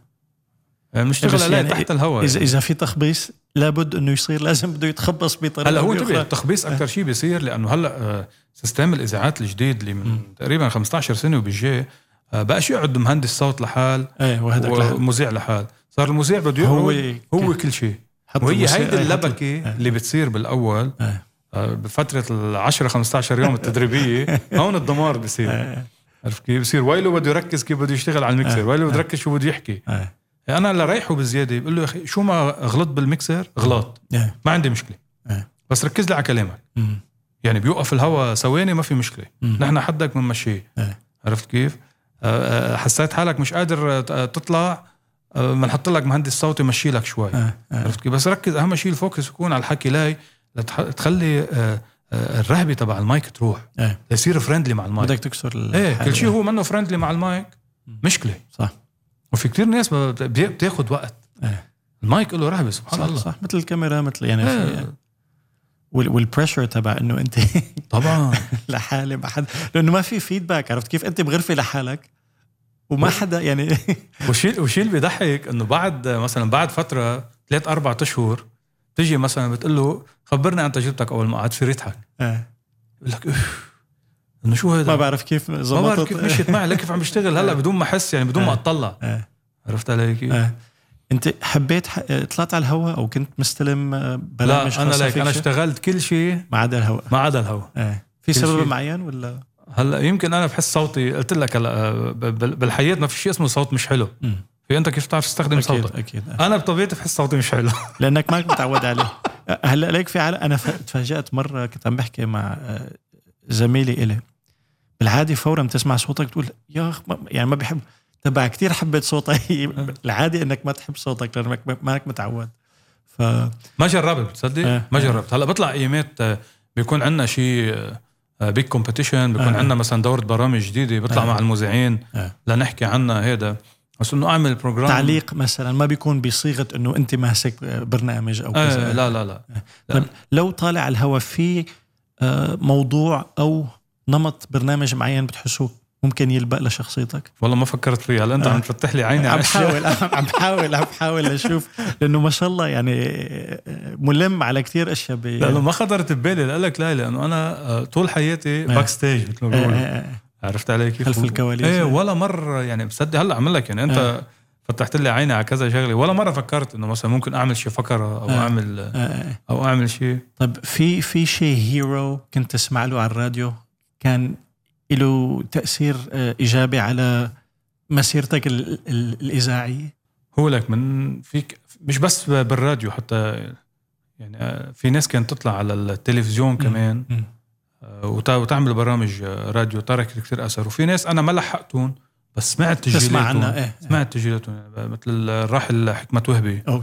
Speaker 2: يعني بنشتغل
Speaker 1: بس
Speaker 2: عليه
Speaker 1: يعني
Speaker 2: تحت الهواء
Speaker 1: اذا
Speaker 2: يعني.
Speaker 1: اذا في تخبيص لابد انه يصير لازم بده يتخبص بطريقه
Speaker 2: هلا هو
Speaker 1: أو
Speaker 2: انتبه
Speaker 1: بأخرى.
Speaker 2: التخبيص
Speaker 1: إيه.
Speaker 2: اكثر شيء بيصير لانه هلا آه، سيستم الاذاعات الجديد اللي
Speaker 1: مم.
Speaker 2: من تقريبا 15 سنه وبالجاي آه، بقى شو يقعد مهندس صوت لحال
Speaker 1: ايه وهذاك لحاله.
Speaker 2: ومذيع لحال صار المذيع بده يقعد هو كل شيء
Speaker 1: حط
Speaker 2: وهي
Speaker 1: الموسيقى،
Speaker 2: هيدي
Speaker 1: حط-
Speaker 2: اللبكه اللي بتصير بالاول
Speaker 1: إيه.
Speaker 2: آه، بفتره ال 10 15 يوم التدريبيه هون الدمار بصير
Speaker 1: إيه.
Speaker 2: عرفت كيف بصير ويله بده يركز كيف بده يشتغل على الميكسر
Speaker 1: إيه.
Speaker 2: ويله بده
Speaker 1: إيه.
Speaker 2: يركز شو بده يحكي
Speaker 1: إيه.
Speaker 2: انا اللي رايحه بزياده بقول له يا اخي شو ما غلطت بالميكسر غلط
Speaker 1: إيه.
Speaker 2: ما عندي مشكله
Speaker 1: إيه.
Speaker 2: بس ركز لي على كلامك
Speaker 1: مم.
Speaker 2: يعني بيوقف الهواء ثواني ما في مشكله
Speaker 1: مم.
Speaker 2: نحن حدك بنمشيه
Speaker 1: إيه.
Speaker 2: عرفت كيف؟ آه، آه، حسيت حالك مش قادر آه، تطلع آه، بنحط لك مهندس صوتي مشي لك شوي
Speaker 1: آه، آه.
Speaker 2: عرفت كيف؟ بس ركز اهم شيء الفوكس يكون على الحكي لاي لتح- تخلي آه، آه، الرهبه تبع المايك تروح
Speaker 1: إيه.
Speaker 2: يصير فريندلي مع المايك
Speaker 1: بدك تكسر ال-
Speaker 2: ايه كل شيء هو منه فريندلي مع المايك مشكله
Speaker 1: صح
Speaker 2: وفي كتير ناس بت- بي- بتاخد وقت
Speaker 1: إيه.
Speaker 2: المايك له رهبه سبحان
Speaker 1: صح,
Speaker 2: الله
Speaker 1: صح مثل الكاميرا مثل يعني
Speaker 2: إيه.
Speaker 1: وال- والبريشر تبع انه انت
Speaker 2: طبعا
Speaker 1: لحالي ما حدا لانه ما في فيدباك عرفت كيف انت بغرفه لحالك وما
Speaker 2: إيه.
Speaker 1: حدا يعني
Speaker 2: وشيء وشيء اللي بيضحك انه بعد مثلا بعد فتره ثلاث اربع اشهر تجي مثلا بتقول له خبرنا عن تجربتك اول ما قعدت في يضحك
Speaker 1: آه،
Speaker 2: بقول لك اف انه شو هذا
Speaker 1: ما بعرف كيف
Speaker 2: إيه. ما بعرف
Speaker 1: زبطت
Speaker 2: كيف مشيت معي لكيف عم بشتغل هلا بدون ما احس يعني بدون ما
Speaker 1: آه.
Speaker 2: اطلع
Speaker 1: آه.
Speaker 2: عرفت علي كيف؟
Speaker 1: آه. انت حبيت ح... آه، طلعت على الهواء او كنت مستلم آه، برامج
Speaker 2: لا انا
Speaker 1: خاصة
Speaker 2: ليك
Speaker 1: فيك
Speaker 2: انا
Speaker 1: شيء؟
Speaker 2: اشتغلت كل شيء
Speaker 1: ما عدا الهواء
Speaker 2: ما عدا الهوا
Speaker 1: آه. في
Speaker 2: كل
Speaker 1: سبب
Speaker 2: شيء.
Speaker 1: معين ولا
Speaker 2: هلا يمكن انا بحس صوتي قلت لك هلا آه، ب- بال- بالحياه ما في شيء اسمه صوت مش حلو
Speaker 1: مم.
Speaker 2: في انت كيف بتعرف تستخدم
Speaker 1: اكيد
Speaker 2: صوتك
Speaker 1: اكيد آه.
Speaker 2: انا بطبيعتي بحس صوتي مش حلو
Speaker 1: لانك ماك متعود عليه آه، هلا ليك في عالم انا ف- تفاجات مره كنت عم بحكي مع آه، زميلي إلي بالعادي فورا بتسمع صوتك تقول يا أخ ما- يعني ما بحب تبع كتير حبيت صوتي العادي انك ما تحب صوتك لانك ما- مانك متعود ف
Speaker 2: ما جربت بتصدق
Speaker 1: إيه.
Speaker 2: ما جربت هلا بطلع ايامات آه، بيكون عندنا شيء بيج كومبيتيشن بيكون
Speaker 1: آه.
Speaker 2: عندنا مثلا دوره برامج جديده بطلع
Speaker 1: آه.
Speaker 2: مع المذيعين
Speaker 1: آه.
Speaker 2: لنحكي عنها هيدا بس انه اعمل بروجرام
Speaker 1: تعليق مثلا ما بيكون بصيغه انه انت ماسك برنامج او كذا
Speaker 2: آه لا لا لا
Speaker 1: طيب لو طالع على الهواء في آه، موضوع او نمط برنامج معين بتحسوه ممكن يلبق لشخصيتك
Speaker 2: والله ما فكرت فيها هلا انت
Speaker 1: آه.
Speaker 2: عم تفتح لي عيني
Speaker 1: عم
Speaker 2: على أشياء.
Speaker 1: بحاول عم بحاول عم بحاول اشوف لانه ما شاء الله يعني ملم على كثير اشياء ب آه،
Speaker 2: لانه ما خطرت ببالي لأقول لك لا لانه انا آه، طول حياتي باك ستيج مثل ما
Speaker 1: آه،
Speaker 2: بيقولوا
Speaker 1: آه، آه.
Speaker 2: عرفت علي كيف
Speaker 1: خلف الكواليس.
Speaker 2: ايه ولا مره يعني بصدق هلا عم لك يعني انت
Speaker 1: آه.
Speaker 2: فتحت لي عيني على كذا شغله ولا مره فكرت انه مثلا ممكن اعمل شيء فقره او
Speaker 1: آه.
Speaker 2: اعمل
Speaker 1: آه، آه.
Speaker 2: او اعمل شيء
Speaker 1: طيب في في شيء هيرو كنت تسمع له على الراديو كان له تاثير آه، ايجابي على مسيرتك ال- ال- الاذاعيه
Speaker 2: هو لك من فيك مش بس بالراديو حتى يعني آه، في ناس كانت تطلع على التلفزيون كمان
Speaker 1: مم.
Speaker 2: آه، وت- وتعمل برامج آه، راديو تركت كثير اثر وفي ناس انا ما لحقتهم بس سمعت
Speaker 1: تسمع عنها
Speaker 2: تسجيلاتهم
Speaker 1: ايه
Speaker 2: سمعت تسجيلاتهم يعني مثل الراحل حكمة وهبي
Speaker 1: أو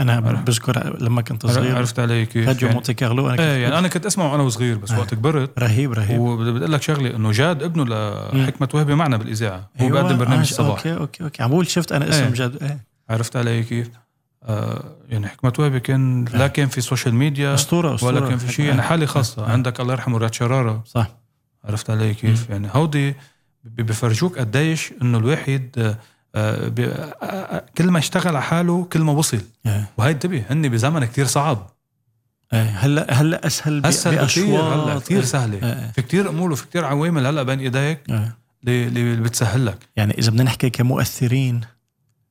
Speaker 1: انا
Speaker 2: عرفت.
Speaker 1: بذكر لما كنت صغير
Speaker 2: عرفت علي كيف
Speaker 1: راديو
Speaker 2: يعني,
Speaker 1: مونتي كارلو انا كنت
Speaker 2: ايه يعني انا كنت اسمعه وانا صغير بس
Speaker 1: آه.
Speaker 2: وقت كبرت
Speaker 1: رهيب رهيب
Speaker 2: وبدي اقول لك شغله انه جاد ابنه لحكمة وهبي معنا بالاذاعه هو بيقدم برنامج
Speaker 1: آه،
Speaker 2: صباح
Speaker 1: اوكي اوكي اوكي عم بقول شفت انا اسم
Speaker 2: إيه.
Speaker 1: جد ايه
Speaker 2: عرفت علي كيف؟ آه يعني حكمة وهبي كان لا كان في سوشيال ميديا
Speaker 1: اسطوره اسطوره
Speaker 2: ولا كان في شيء يعني حاله خاصه
Speaker 1: آه.
Speaker 2: عندك الله يرحمه رياض شراره
Speaker 1: صح
Speaker 2: عرفت علي كيف يعني هودي ب- بفرجوك قديش انه الواحد آه، آه، بي- آه، آه، كل ما اشتغل على حاله كل ما وصل
Speaker 1: إيه.
Speaker 2: وهي انتبه هن بزمن كتير صعب
Speaker 1: إيه، هلا هلا اسهل ب-
Speaker 2: هسه كثير هلا كثير
Speaker 1: إيه.
Speaker 2: سهله
Speaker 1: إيه، إيه.
Speaker 2: في كتير امور وفي كتير عوامل هلا بين ايديك
Speaker 1: إيه.
Speaker 2: اللي اللي بتسهل لك
Speaker 1: يعني اذا بدنا نحكي كمؤثرين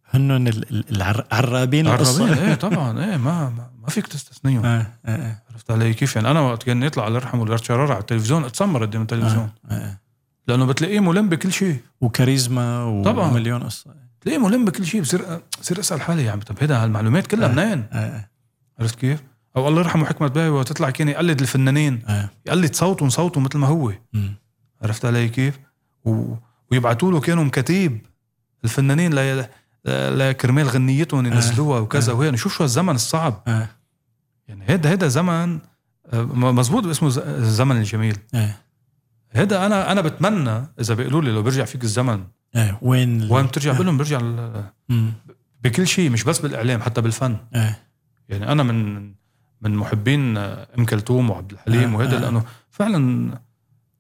Speaker 1: هنن ال- ال- العر- العرابين
Speaker 2: عربين
Speaker 1: القصه
Speaker 2: ايه طبعا ايه ما ما- ما فيك تستثنيهم
Speaker 1: إيه، إيه، إيه.
Speaker 2: عرفت علي كيف يعني انا وقت كان يطلع الله يرحمه الارت شرارة على التلفزيون اتسمر قدام التلفزيون
Speaker 1: إيه، إيه.
Speaker 2: لانه بتلاقيه ملم بكل شيء
Speaker 1: وكاريزما
Speaker 2: طبعاً.
Speaker 1: ومليون قصه
Speaker 2: بتلاقيه ملم بكل شيء بصير بصير اسال حالي يعني طب هيدا هالمعلومات كلها
Speaker 1: آه.
Speaker 2: منين
Speaker 1: إيه، إيه،
Speaker 2: عرفت كيف؟ او الله يرحمه حكمة باي وقت تطلع كان يقلد الفنانين
Speaker 1: إيه.
Speaker 2: يقلد صوتهم صوته مثل ما هو
Speaker 1: مم.
Speaker 2: عرفت علي كيف؟ و... ويبعتوا له كانوا مكاتيب الفنانين ل... ل... لكرمال غنيتهم ينزلوها وكذا وهي يعني شوف شو هالزمن الصعب
Speaker 1: إيه،
Speaker 2: يعني هيدا هيدا زمن آه، مزبوط اسمه ز- الزمن الجميل
Speaker 1: إيه،
Speaker 2: هيدا انا انا بتمنى اذا بيقولوا لي لو برجع فيك الزمن
Speaker 1: إيه. وين ال-
Speaker 2: وين بترجع بقول لهم برجع ال-
Speaker 1: مم.
Speaker 2: بكل شيء مش بس بالاعلام حتى بالفن
Speaker 1: إيه.
Speaker 2: يعني انا من من محبين ام كلثوم وعبد الحليم
Speaker 1: آه،
Speaker 2: وهذا
Speaker 1: آه.
Speaker 2: لانه فعلا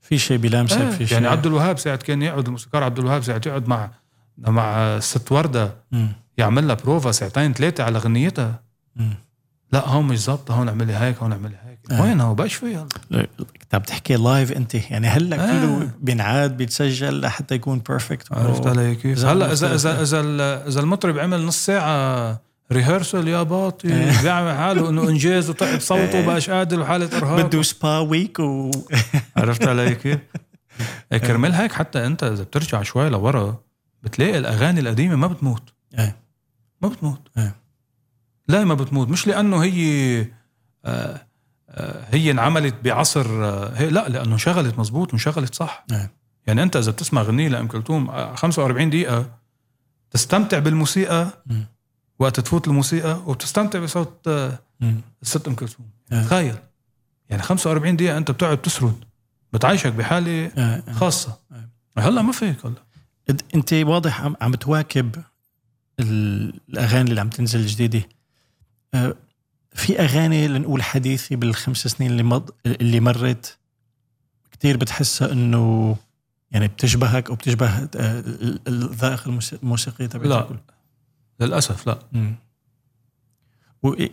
Speaker 1: في شيء بيلامسك
Speaker 2: آه
Speaker 1: في شيء
Speaker 2: يعني عبد الوهاب ساعه كان يقعد الموسيقار عبد الوهاب ساعه يقعد مع مع الست ورده
Speaker 1: مم.
Speaker 2: يعمل لها بروفا ساعتين ثلاثه على غنيتها
Speaker 1: مم.
Speaker 2: لا هون مش ظابطه هون اعملي هيك هون اعملي هيك
Speaker 1: آه.
Speaker 2: وين هو بقاش فيها
Speaker 1: لا، انت عم تحكي لايف انت يعني هلا
Speaker 2: آه.
Speaker 1: كله بينعاد بيتسجل لحتى يكون بيرفكت
Speaker 2: عرفت علي كيف؟
Speaker 1: زمن
Speaker 2: هلا اذا
Speaker 1: مختلف.
Speaker 2: اذا اذا ال- اذا المطرب عمل نص ساعه ريهرسل يا باطي
Speaker 1: إيه.
Speaker 2: بيعمل حاله انه انجاز وطعب صوته وبقاش قادر وحاله ارهاق
Speaker 1: بده سبا ويك و
Speaker 2: عرفت علي كيف؟ إيه، كرمال هيك حتى انت اذا بترجع شوي لورا بتلاقي الاغاني القديمه ما بتموت
Speaker 1: إيه.
Speaker 2: ما بتموت
Speaker 1: إيه.
Speaker 2: لا ما بتموت مش لانه هي آه، آه، هي انعملت بعصر آه، هي لا لانه انشغلت مزبوط وانشغلت صح
Speaker 1: نعم.
Speaker 2: يعني انت اذا بتسمع غنية لام كلثوم آه، 45 دقيقه تستمتع بالموسيقى
Speaker 1: مم.
Speaker 2: وقت تفوت الموسيقى وبتستمتع بصوت آه،
Speaker 1: مم.
Speaker 2: الست ام كلثوم
Speaker 1: آه.
Speaker 2: تخيل يعني 45 دقيقه انت بتقعد تسرد بتعيشك بحاله
Speaker 1: آه، آه.
Speaker 2: خاصه هلا ما فيك هلا
Speaker 1: إد- انت واضح عم, عم تواكب ال- الاغاني اللي عم تنزل الجديده آه، في اغاني لنقول حديثه بالخمس سنين اللي مض... اللي مرت كثير بتحسها انه يعني بتشبهك او بتشبه آه، ال- ال- الذائقه الموس- الموسيقيه تبعتك
Speaker 2: لا. للاسف لا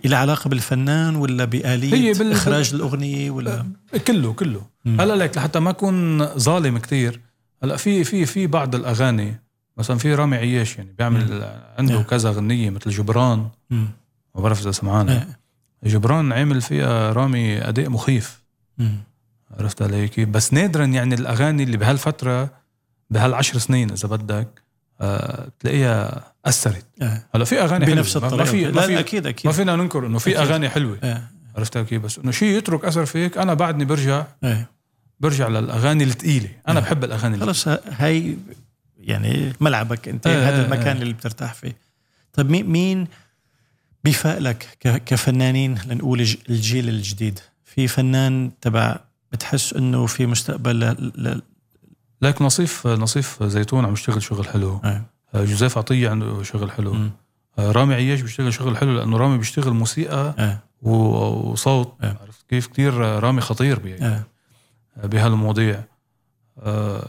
Speaker 1: إلى علاقه بالفنان ولا باليه
Speaker 2: هي بال-
Speaker 1: اخراج الاغنيه ولا
Speaker 2: كله كله
Speaker 1: مم.
Speaker 2: هلا لك لحتى ما اكون ظالم كتير هلا في في في بعض الاغاني مثلا في رامي عياش يعني بيعمل عنده
Speaker 1: نعم.
Speaker 2: كذا غنيه مثل جبران
Speaker 1: مم.
Speaker 2: ما بعرف اذا سمعان
Speaker 1: إيه.
Speaker 2: جبران عمل فيها رامي اداء مخيف
Speaker 1: مم.
Speaker 2: عرفت علي كيف بس نادرا يعني الاغاني اللي بهالفتره بهالعشر سنين اذا بدك آه، تلاقيها اثرت
Speaker 1: إيه.
Speaker 2: هلا في اغاني حلوة.
Speaker 1: بنفس
Speaker 2: ما-
Speaker 1: الطريقه
Speaker 2: ما في
Speaker 1: لا
Speaker 2: ما,
Speaker 1: لا
Speaker 2: في
Speaker 1: اكيد
Speaker 2: ما
Speaker 1: اكيد
Speaker 2: فينا ننكر انه في
Speaker 1: أكيد.
Speaker 2: اغاني حلوه
Speaker 1: إيه.
Speaker 2: عرفت كيف بس انه شيء يترك اثر فيك انا بعدني برجع
Speaker 1: إيه.
Speaker 2: برجع للاغاني الثقيله انا
Speaker 1: آه.
Speaker 2: بحب الاغاني الثقيله
Speaker 1: خلص ه- هاي يعني ملعبك انت
Speaker 2: آه،
Speaker 1: هذا
Speaker 2: آه،
Speaker 1: المكان
Speaker 2: آه.
Speaker 1: اللي بترتاح فيه طيب مين مين بيفائلك ك- كفنانين لنقول الج- الجيل الجديد في فنان تبع بتحس انه في مستقبل ل... ل...
Speaker 2: لك نصيف نصيف زيتون عم يشتغل شغل حلو
Speaker 1: آه.
Speaker 2: آه، جوزيف عطيه عنده شغل حلو
Speaker 1: مم.
Speaker 2: آه، رامي عياش بيشتغل شغل حلو لانه رامي بيشتغل موسيقى
Speaker 1: آه.
Speaker 2: و- وصوت
Speaker 1: آه.
Speaker 2: عرفت كيف كثير آه، رامي خطير بي-
Speaker 1: آه.
Speaker 2: بهالمواضيع آه،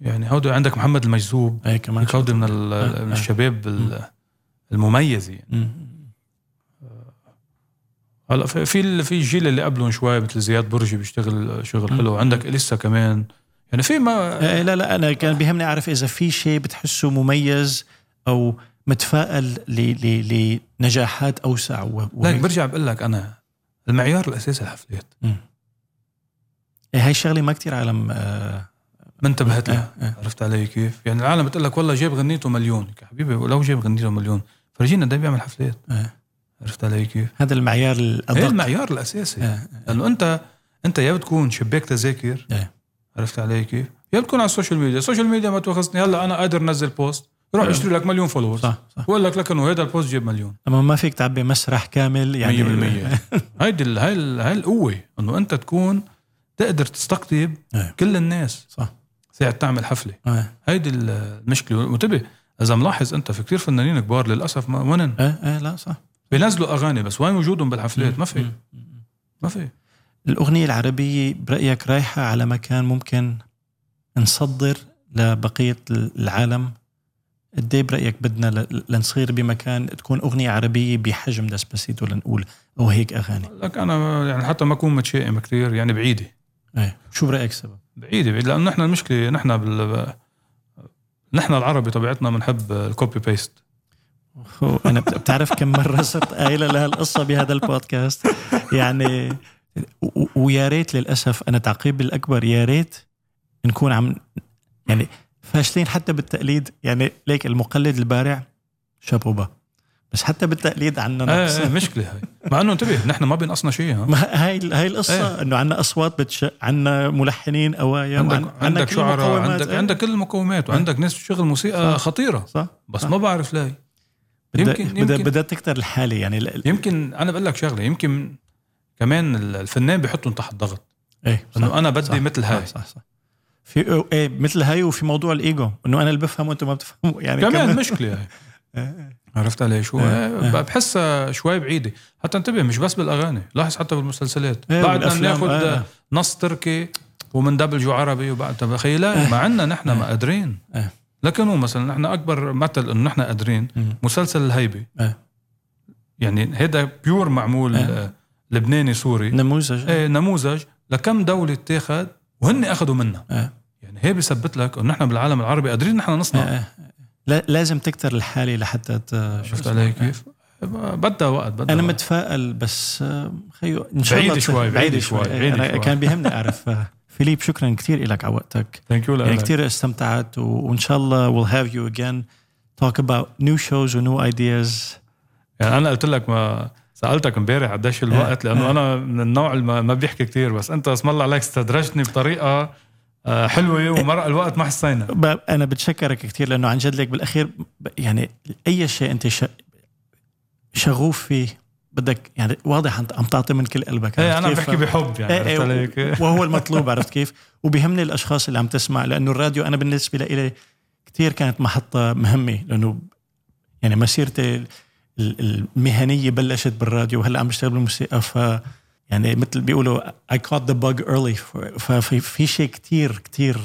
Speaker 2: يعني هودي عندك محمد المجذوب
Speaker 1: آه. كمان
Speaker 2: هودي من, ال-
Speaker 1: آه.
Speaker 2: من
Speaker 1: آه.
Speaker 2: الشباب ال- المميز يعني
Speaker 1: مم.
Speaker 2: هلا في في ال- في الجيل اللي قبلهم شوي مثل زياد برجي بيشتغل شغل
Speaker 1: مم.
Speaker 2: حلو عندك اليسا كمان يعني في ما
Speaker 1: آه. لا لا انا كان بيهمني اعرف اذا في شيء بتحسه مميز او متفائل ل... ل... لنجاحات اوسع و... و...
Speaker 2: لك برجع بقول لك انا المعيار الاساسي الحفلات
Speaker 1: آه، هاي الشغله ما كتير عالم آه.
Speaker 2: ما انتبهت لها
Speaker 1: آه. آه.
Speaker 2: عرفت علي كيف؟ يعني العالم بتقول لك والله جاب غنيته مليون يا حبيبي ولو جاب غنيته مليون فرجينا ده بيعمل حفلات
Speaker 1: آه.
Speaker 2: عرفت علي كيف؟
Speaker 1: هذا المعيار
Speaker 2: هي
Speaker 1: الادق
Speaker 2: المعيار الاساسي
Speaker 1: آه.
Speaker 2: لانه انت انت يا بتكون شباك تذاكر
Speaker 1: إيه.
Speaker 2: عرفت علي كيف؟ يا بتكون على السوشيال ميديا، السوشيال ميديا ما تواخذني هلا انا قادر انزل بوست روح
Speaker 1: آه.
Speaker 2: اشتري لك مليون فولور
Speaker 1: صح صح
Speaker 2: بقول لك لك انه هذا البوست جاب مليون
Speaker 1: اما ما فيك تعبي مسرح كامل يعني
Speaker 2: 100% هيدي ال- هاي ال- هاي القوه انه انت تكون تقدر تستقطب
Speaker 1: إيه.
Speaker 2: كل الناس
Speaker 1: صح
Speaker 2: ساعة تعمل حفله
Speaker 1: آه.
Speaker 2: هيدي ال- المشكله وانتبه اذا ملاحظ انت في كتير فنانين كبار للاسف ما وينن
Speaker 1: آه. آه. لا صح
Speaker 2: بينزلوا اغاني بس وين وجودهم بالحفلات ما في
Speaker 1: مم. مم.
Speaker 2: ما في
Speaker 1: الاغنيه العربيه برايك رايحه على مكان ممكن نصدر لبقيه العالم قد إيه برايك بدنا ل- لنصير بمكان تكون اغنيه عربيه بحجم دسباسيتو لنقول او هيك اغاني
Speaker 2: لك انا يعني حتى ما اكون متشائم كتير يعني بعيده
Speaker 1: آه. شو برايك سبب
Speaker 2: بعيده بعيد لانه نحن المشكله نحن بال نحن العربي طبيعتنا بنحب الكوبي بيست
Speaker 1: أوه، انا بت- بتعرف كم مره صرت قايله لها القصه بهذا البودكاست يعني و- و- ويا ريت للاسف انا تعقيب الاكبر يا ريت نكون عم يعني فاشلين حتى بالتقليد يعني ليك المقلد البارع شابوبا بس حتى بالتقليد عنا نقص
Speaker 2: آه مشكله هاي مع انه انتبه نحن ما بينقصنا شيء ها
Speaker 1: ما هاي هاي القصه انه عنا اصوات بتش... عنا ملحنين اوايا
Speaker 2: إيه. عندك
Speaker 1: وعن- عنا
Speaker 2: عندك
Speaker 1: كل
Speaker 2: شعراء
Speaker 1: المقومات.
Speaker 2: عندك
Speaker 1: إيه.
Speaker 2: عندك كل المقومات وعندك ناس بتشتغل موسيقى
Speaker 1: صح.
Speaker 2: خطيره
Speaker 1: صح
Speaker 2: بس
Speaker 1: صح.
Speaker 2: ما بعرف ليه
Speaker 1: بدها
Speaker 2: يمكن-
Speaker 1: بدها
Speaker 2: يمكن.
Speaker 1: بدها تكتر الحاله يعني ال- ال-
Speaker 2: يمكن انا بقول لك شغله يمكن كمان الفنان بيحطهم تحت ضغط
Speaker 1: ايه صح.
Speaker 2: انه انا بدي
Speaker 1: صح.
Speaker 2: مثل
Speaker 1: صح
Speaker 2: هاي
Speaker 1: صح صح في ايه مثل هاي وفي موضوع الايجو انه انا اللي بفهم وانتم ما بتفهموا يعني
Speaker 2: كمان مشكله هاي
Speaker 1: مش
Speaker 2: عرفت علي شو؟
Speaker 1: إيه.
Speaker 2: إيه، بحسها شوي بعيده، حتى انتبه مش بس بالاغاني، لاحظ حتى بالمسلسلات،
Speaker 1: إيه،
Speaker 2: بعدنا
Speaker 1: والأفلام،
Speaker 2: بناخذ
Speaker 1: آه.
Speaker 2: نص تركي ومندبلجه عربي وبعد طب اخي لا ما عندنا نحن ما قادرين
Speaker 1: إيه.
Speaker 2: لكن هو مثلا نحن اكبر مثل انه نحن قادرين
Speaker 1: مم.
Speaker 2: مسلسل الهيبه
Speaker 1: إيه.
Speaker 2: يعني هذا بيور معمول
Speaker 1: إيه. نعم.
Speaker 2: آه، لبناني سوري
Speaker 1: نموذج
Speaker 2: إيه، نموذج لكم دوله اتاخذ وهن اخذوا منا
Speaker 1: إيه.
Speaker 2: يعني هي بيثبت لك انه نحن بالعالم العربي قادرين نحن نصنع
Speaker 1: آه، آه. لا لازم تكتر الحاله لحتى ت-
Speaker 2: شفت علي كيف؟ بدها وقت بدها
Speaker 1: انا
Speaker 2: وقت.
Speaker 1: متفائل بس آه، خيو ان شاء
Speaker 2: بعيدة
Speaker 1: الله ت-
Speaker 2: شوي، بعيدة شوي،
Speaker 1: إيه،
Speaker 2: بعيدة
Speaker 1: أنا
Speaker 2: شوي.
Speaker 1: كان بيهمني اعرف آه، فيليب شكرا كثير لك على وقتك
Speaker 2: ثانك يو
Speaker 1: يعني كثير استمتعت و- وان شاء الله we'll have you again talk about new shows and new ideas
Speaker 2: يعني انا قلت لك ما سالتك امبارح قديش
Speaker 1: إيه.
Speaker 2: الوقت لانه انا من النوع اللي ما بيحكي كثير بس انت اسم الله عليك استدرجتني بطريقه آه، حلوه ومرق الوقت ما حسينا
Speaker 1: ب- انا بتشكرك كثير لانه عن جد لك بالاخير ب- يعني اي شيء انت ش- شغوف فيه بدك يعني واضح انت عم تعطي من كل قلبك
Speaker 2: ايه
Speaker 1: عرفت
Speaker 2: انا عم
Speaker 1: كيف؟
Speaker 2: بحكي بحب يعني
Speaker 1: إيه،
Speaker 2: عرفت
Speaker 1: إيه،
Speaker 2: عليك؟
Speaker 1: وهو المطلوب عرفت كيف؟ وبيهمني الاشخاص اللي عم تسمع لانه الراديو انا بالنسبه لي كثير كانت محطه مهمه لانه يعني مسيرتي ال- ال- المهنيه بلشت بالراديو وهلا عم بشتغل بالموسيقى ف يعني مثل بيقولوا I caught the bug early ففي في شيء كثير كثير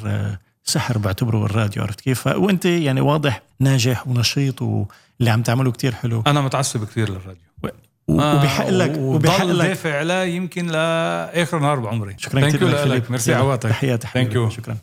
Speaker 1: سحر بعتبره بالراديو عرفت كيف؟ ف- وانت يعني واضح ناجح ونشيط واللي عم تعمله كثير حلو
Speaker 2: انا متعصب آه، كثير للراديو
Speaker 1: و- وبيحق لك وبيحق
Speaker 2: وبضل
Speaker 1: لك
Speaker 2: دافع له يمكن لاخر نهار بعمري
Speaker 1: شكرا
Speaker 2: Thank you
Speaker 1: كثير
Speaker 2: لك ميرسي عواتك
Speaker 1: تحياتي
Speaker 2: Thank you.
Speaker 1: شكرا